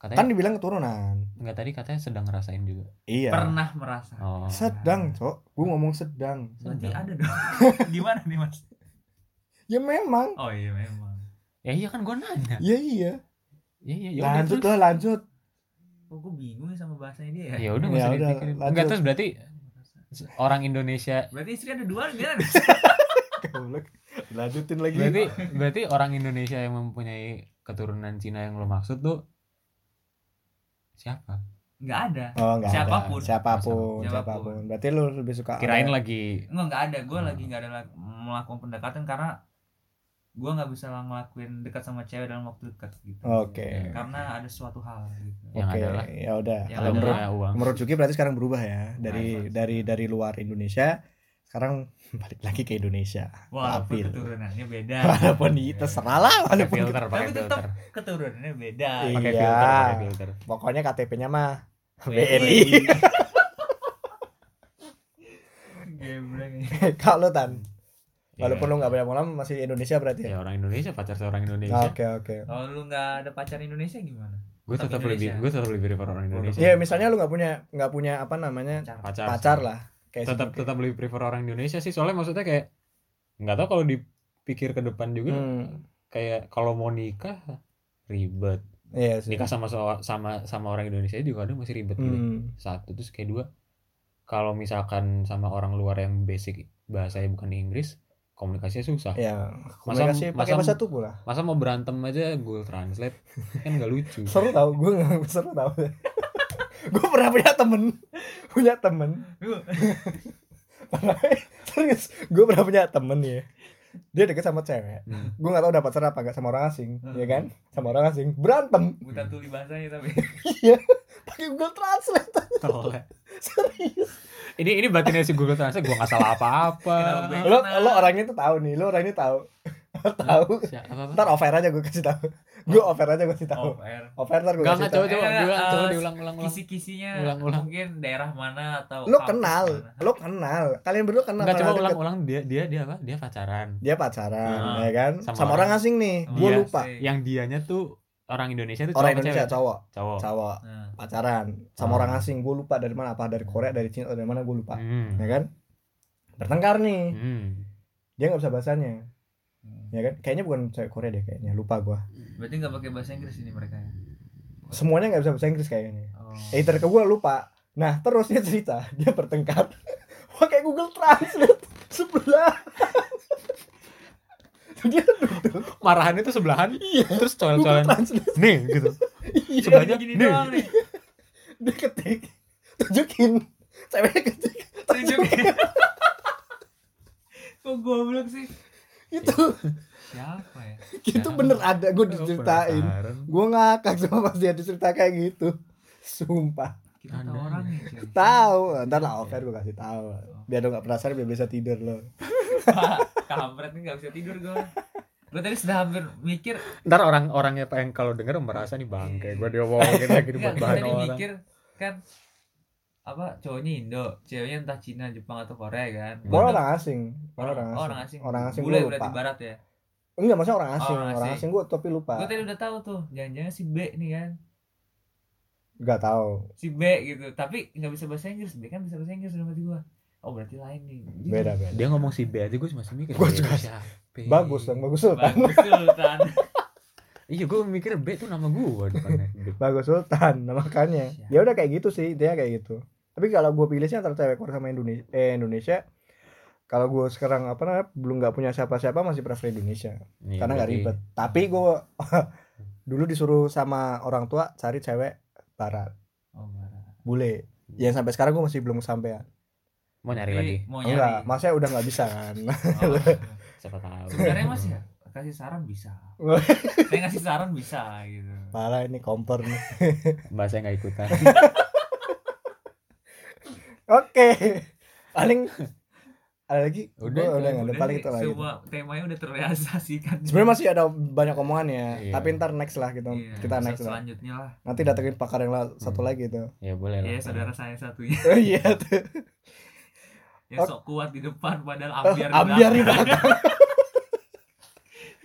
Speaker 1: Katanya
Speaker 2: Kan dibilang keturunan.
Speaker 1: nggak tadi katanya sedang ngerasain juga.
Speaker 2: Iya.
Speaker 3: pernah merasa
Speaker 1: Oh.
Speaker 2: Sedang, Cok. Gua ngomong sedang.
Speaker 3: berarti
Speaker 1: Sedang.
Speaker 3: ada dong <laughs> gimana nih mas
Speaker 2: Ya memang.
Speaker 3: oh iya memang
Speaker 1: Ya iya kan gue nanya.
Speaker 2: Ya iya.
Speaker 1: Ya iya. ya udah,
Speaker 2: Lanjut
Speaker 1: terus.
Speaker 2: lah, lanjut.
Speaker 3: kok gue bingung ya sama bahasanya dia
Speaker 1: Ya
Speaker 3: ya
Speaker 1: udah nggak
Speaker 2: Ya
Speaker 1: usah
Speaker 2: udah,
Speaker 1: dipikirin.
Speaker 2: lanjut.
Speaker 1: Enggak terus berarti se- orang Indonesia
Speaker 3: berarti istri ada dua gimana
Speaker 2: Goblok. <laughs> Lanjutin lagi.
Speaker 1: berarti berarti orang Indonesia yang mempunyai keturunan Cina yang lo maksud tuh siapa?
Speaker 3: nggak ada
Speaker 2: Oh, enggak
Speaker 3: Siapapun.
Speaker 2: Ada. Siapapun,
Speaker 3: Siapapun.
Speaker 2: siapapun. Berarti lu lebih suka
Speaker 1: Kirain
Speaker 2: ada-
Speaker 1: lagi
Speaker 3: Enggak, enggak ada. Gue
Speaker 1: Hmm.
Speaker 3: lagi enggak ada lak- melakukan pendekatan karena gue nggak bisa ngelakuin dekat sama cewek dalam waktu dekat gitu.
Speaker 2: Oke.
Speaker 1: Ya.
Speaker 3: Karena ada suatu hal gitu.
Speaker 1: yang
Speaker 2: Oke,
Speaker 1: adalah
Speaker 2: ya udah.
Speaker 1: kalau
Speaker 3: Yang
Speaker 2: Kalau menurut
Speaker 1: punya uang.
Speaker 2: menurut Juki berarti sekarang berubah ya dari
Speaker 3: Nah,
Speaker 2: dari dari luar Indonesia sekarang <laughs> balik lagi ke Indonesia.
Speaker 3: Walaupun
Speaker 2: Apil.
Speaker 3: keturunannya
Speaker 2: <laughs>
Speaker 3: beda.
Speaker 2: Walaupun di terserah
Speaker 1: Ah,
Speaker 2: lah
Speaker 1: Pakai
Speaker 2: walaupun
Speaker 1: filter, pakai
Speaker 3: Tapi tetap
Speaker 1: filter.
Speaker 3: keturunannya beda.
Speaker 2: Iya.
Speaker 1: Pakai filter, pakai filter.
Speaker 2: pokoknya KTP-nya
Speaker 1: <laughs>
Speaker 2: mah
Speaker 3: WNI.
Speaker 2: BNI.
Speaker 3: Gebleng.
Speaker 2: <laughs> Kalau tan,
Speaker 1: Iya.
Speaker 2: walaupun lu nggak banyak malam masih Indonesia berarti ya.
Speaker 1: ya orang Indonesia pacar seorang
Speaker 2: Ah,
Speaker 1: Indonesia.
Speaker 2: Oke oke.
Speaker 3: Kalau lu nggak ada pacar Indonesia gimana?
Speaker 1: Gue
Speaker 3: Tetap
Speaker 1: tetap lebih
Speaker 3: Indonesia.
Speaker 1: gue tetap lebih prefer orang Indonesia.
Speaker 2: Iya misalnya lu nggak punya nggak punya apa namanya
Speaker 3: Pacar.
Speaker 1: pacar.
Speaker 2: pacar lah kayak
Speaker 1: tetap
Speaker 2: si Juki.
Speaker 1: tetap lebih prefer orang Indonesia sih soalnya maksudnya kayak nggak tahu kalau dipikir ke depan juga
Speaker 2: Hmm,
Speaker 1: kayak kalau mau nikah ribet
Speaker 2: iya sih.
Speaker 1: nikah sama soa- sama sama orang Indonesia juga kadang masih ribet gitu.
Speaker 2: Hmm,
Speaker 1: satu terus kayak dua kalau misalkan sama orang luar yang basic bahasanya bukan Inggris komunikasinya susah
Speaker 2: ya komunikasi pakai
Speaker 1: masa-
Speaker 2: bahasa tubuh lah.
Speaker 1: masa mau berantem aja Google Translate kan nggak
Speaker 2: <laughs>
Speaker 1: lucu
Speaker 2: seru tau gue nggak <laughs> seru tau gue pernah punya temen <laughs> punya temen serius gue pernah punya temen ya dia deket sama cewek
Speaker 1: Hmm.
Speaker 2: gue nggak tahu dapat pacar apa nggak sama orang asing
Speaker 3: Hmm.
Speaker 2: ya kan sama orang asing berantem
Speaker 3: Buta tuli bahasanya tapi.
Speaker 2: pakai Google Translate
Speaker 1: Tolol.
Speaker 2: serius
Speaker 1: ini ini batinnya si Google Translate gua nggak salah apa-apa
Speaker 3: Kenapa?
Speaker 2: lo
Speaker 1: Nah.
Speaker 2: lo orangnya tuh tahu nih lo orangnya tahu <laughs> tahu
Speaker 1: Siapa?
Speaker 2: ntar offer aja gue kasih tahu gue offer aja gue kasih tahu
Speaker 3: Off air.
Speaker 1: Oh.
Speaker 2: offer ntar gue
Speaker 1: Gak,
Speaker 2: kasih
Speaker 1: gak,
Speaker 2: tahu
Speaker 1: coba, coba,
Speaker 3: Eh,
Speaker 1: diulang, coba,
Speaker 3: eh,
Speaker 1: diulang, ulang, ulang.
Speaker 3: Kisi-kisinya
Speaker 1: Ulang, ulang.
Speaker 3: mungkin daerah mana atau
Speaker 2: lo
Speaker 3: kampus
Speaker 2: kenal
Speaker 3: mana.
Speaker 2: lo kenal kalian berdua kenal
Speaker 1: Enggak, coba
Speaker 2: kenal deket.
Speaker 1: ulang, ulang. Dia, dia, dia apa? Dia pacaran.
Speaker 2: dia pacaran
Speaker 3: Ah.
Speaker 2: ya kan
Speaker 1: Sama
Speaker 2: sama, orang asing nih
Speaker 1: Iya
Speaker 3: Sama
Speaker 2: gue
Speaker 1: orang
Speaker 2: lupa Ya.
Speaker 3: asing.
Speaker 1: Yang dianya tuh orang Indonesia itu
Speaker 2: orang
Speaker 1: cowok apa
Speaker 2: Indonesia cowok
Speaker 1: cewek? cowok.
Speaker 2: cowok
Speaker 3: Nah,
Speaker 2: pacaran sama
Speaker 1: Ah.
Speaker 2: orang asing gue lupa dari mana apa dari Korea dari Cina atau dari mana gue lupa
Speaker 1: Hmm.
Speaker 2: ya kan bertengkar nih
Speaker 1: Hmm.
Speaker 2: dia nggak bisa bahasanya
Speaker 3: hmm.
Speaker 2: ya kan kayaknya bukan cewek Korea deh kayaknya lupa gua
Speaker 3: berarti nggak pakai bahasa Inggris ini mereka ya?
Speaker 2: semuanya nggak bisa bahasa Inggris kayaknya
Speaker 3: Oh.
Speaker 2: either ke gua lupa nah terus dia cerita <laughs> dia bertengkar pakai Google Translate sebelah <laughs> dia duduk
Speaker 1: Marahannya tuh sebelahan. Terus
Speaker 2: Google
Speaker 1: coel-coelan
Speaker 2: Translate
Speaker 1: <laughs> nih gitu.
Speaker 2: Iya,
Speaker 1: Sebelahnya
Speaker 3: gini
Speaker 1: nih. Oh,
Speaker 3: doang nih.
Speaker 2: dia ketik tunjukin ceweknya ketik <laughs>
Speaker 3: Tunjukin. <laughs> Kok goblok sih?
Speaker 2: itu
Speaker 3: Siapa ya?
Speaker 2: gitu
Speaker 1: Ya.
Speaker 2: bener ada gua
Speaker 1: Oh,
Speaker 2: diceritain
Speaker 1: penasaran.
Speaker 2: gua ngakak sama pas dia dicerita kayak gitu sumpah
Speaker 3: Kita tahu
Speaker 1: Anda.
Speaker 3: orangnya cuy. <laughs>
Speaker 2: tahu ntar lah off air gua kasih tahu biar lo nggak penasaran biar bisa tidur lo
Speaker 3: Pak, kampret nih nggak bisa tidur gue. Gue tadi sudah hampir mikir,
Speaker 1: Ntar orang-orangnya pengen kalau denger merasa nih bangke. Gue diomongin lagi buat
Speaker 2: Iya,
Speaker 3: nggak gue
Speaker 1: bahan
Speaker 3: iya, tadi
Speaker 1: orang.
Speaker 3: mikir kan apa cowoknya Indo, ceweknya entah Cina, Jepang atau Korea kan.
Speaker 1: Gua
Speaker 2: Gua
Speaker 3: Gua
Speaker 2: orang asing, gua
Speaker 3: orang,
Speaker 2: orang asing,
Speaker 3: orang asing.
Speaker 2: orang asing
Speaker 3: Bule
Speaker 2: gua
Speaker 3: berarti
Speaker 2: lupa.
Speaker 3: barat ya.
Speaker 2: Enggak, maksudnya orang asing,
Speaker 3: orang
Speaker 2: orang,
Speaker 3: asing.
Speaker 2: asing gua tapi lupa.
Speaker 3: Gue tadi udah tahu tuh, jangan-jangan si B nih kan.
Speaker 2: Enggak tahu.
Speaker 3: Si B gitu, tapi nggak bisa bahasa Inggris. B kan bisa bahasa Inggris dalam hati gue. Oh berarti lain nih. Gitu.
Speaker 2: Beda beda.
Speaker 1: Dia ngomong si B aja gue masih mikir.
Speaker 2: Gua
Speaker 1: B
Speaker 2: juga.
Speaker 1: siapa?
Speaker 2: Bagus dong, bagus Sultan.
Speaker 3: Bagus Sultan.
Speaker 1: Iya gue mikir B tuh nama gue
Speaker 2: <laughs>
Speaker 1: depannya. B.
Speaker 2: Bagus Sultan, <laughs> nah, makanya.
Speaker 3: Siap.
Speaker 2: Ya udah kayak gitu sih, dia kayak gitu. Tapi kalau gua pilih sih antara cewek Korea sama Indonesia, eh Indonesia kalau gua sekarang apa namanya belum nggak punya siapa-siapa masih prefer Indonesia
Speaker 1: Nih,
Speaker 3: Iya,
Speaker 2: karena nggak
Speaker 1: berarti-
Speaker 2: ribet. Tapi gua <laughs> dulu disuruh sama orang tua cari cewek barat,
Speaker 3: Oh,
Speaker 2: <laughs>
Speaker 3: marah.
Speaker 2: bule.
Speaker 1: Hmm.
Speaker 2: Yang sampai sekarang gua masih belum kesampaian.
Speaker 1: Mau nyari
Speaker 3: Tapi
Speaker 1: lagi.
Speaker 3: Mau nyari.
Speaker 1: iya.
Speaker 2: Enggak, maksudnya udah nggak bisa
Speaker 1: <laughs>
Speaker 2: kan.
Speaker 3: Oh.
Speaker 1: Siapa tahu.
Speaker 3: Sebenarnya Mas ya kasih saran
Speaker 2: <laughs>
Speaker 3: bisa. Saya ngasih saran bisa gitu.
Speaker 2: Parah ini kompor nih.
Speaker 1: Bahasa nggak
Speaker 2: <laughs>
Speaker 1: ikutan.
Speaker 2: Oke. Paling ada lagi?
Speaker 1: Udah,
Speaker 2: Gua Oh, udah nggak ada
Speaker 3: Udah
Speaker 2: paling
Speaker 3: sih,
Speaker 2: itu lagi.
Speaker 3: Semua temanya udah terrealisasikan.
Speaker 2: Sebenarnya masih ada banyak omongan ya,
Speaker 1: Iya.
Speaker 2: tapi ntar next lah gitu.
Speaker 3: Iya,
Speaker 2: kita
Speaker 3: episode
Speaker 2: next lah.
Speaker 3: selanjutnya lah.
Speaker 2: Nanti datengin pakar yang la- satu
Speaker 1: Hmm.
Speaker 2: lagi itu.
Speaker 1: ya boleh lah.
Speaker 3: Ya saudara saya satunya
Speaker 2: <laughs> Oh iya tuh.
Speaker 3: yang sok kuat di depan padahal ambiar. di
Speaker 2: Oh. Ambiar di
Speaker 3: belakang.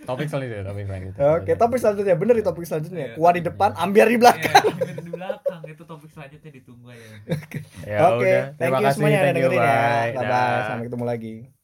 Speaker 1: Topik selanjutnya, topik selanjutnya.
Speaker 2: Oke, topik selanjutnya. Bener di topik
Speaker 3: Iya.
Speaker 2: selanjutnya. Kuat di depan, ambiar di belakang.
Speaker 3: Iya, ambiar di belakang itu topik selanjutnya ditunggu aja.
Speaker 1: Ya
Speaker 2: Oke,
Speaker 1: udah.
Speaker 2: thank
Speaker 1: Terima
Speaker 2: you
Speaker 1: kasih.
Speaker 2: semuanya yang
Speaker 1: Thank you.
Speaker 2: dengerin ya.
Speaker 1: Bye.
Speaker 2: Bye bye.
Speaker 1: Dah.
Speaker 2: Sampai ketemu lagi.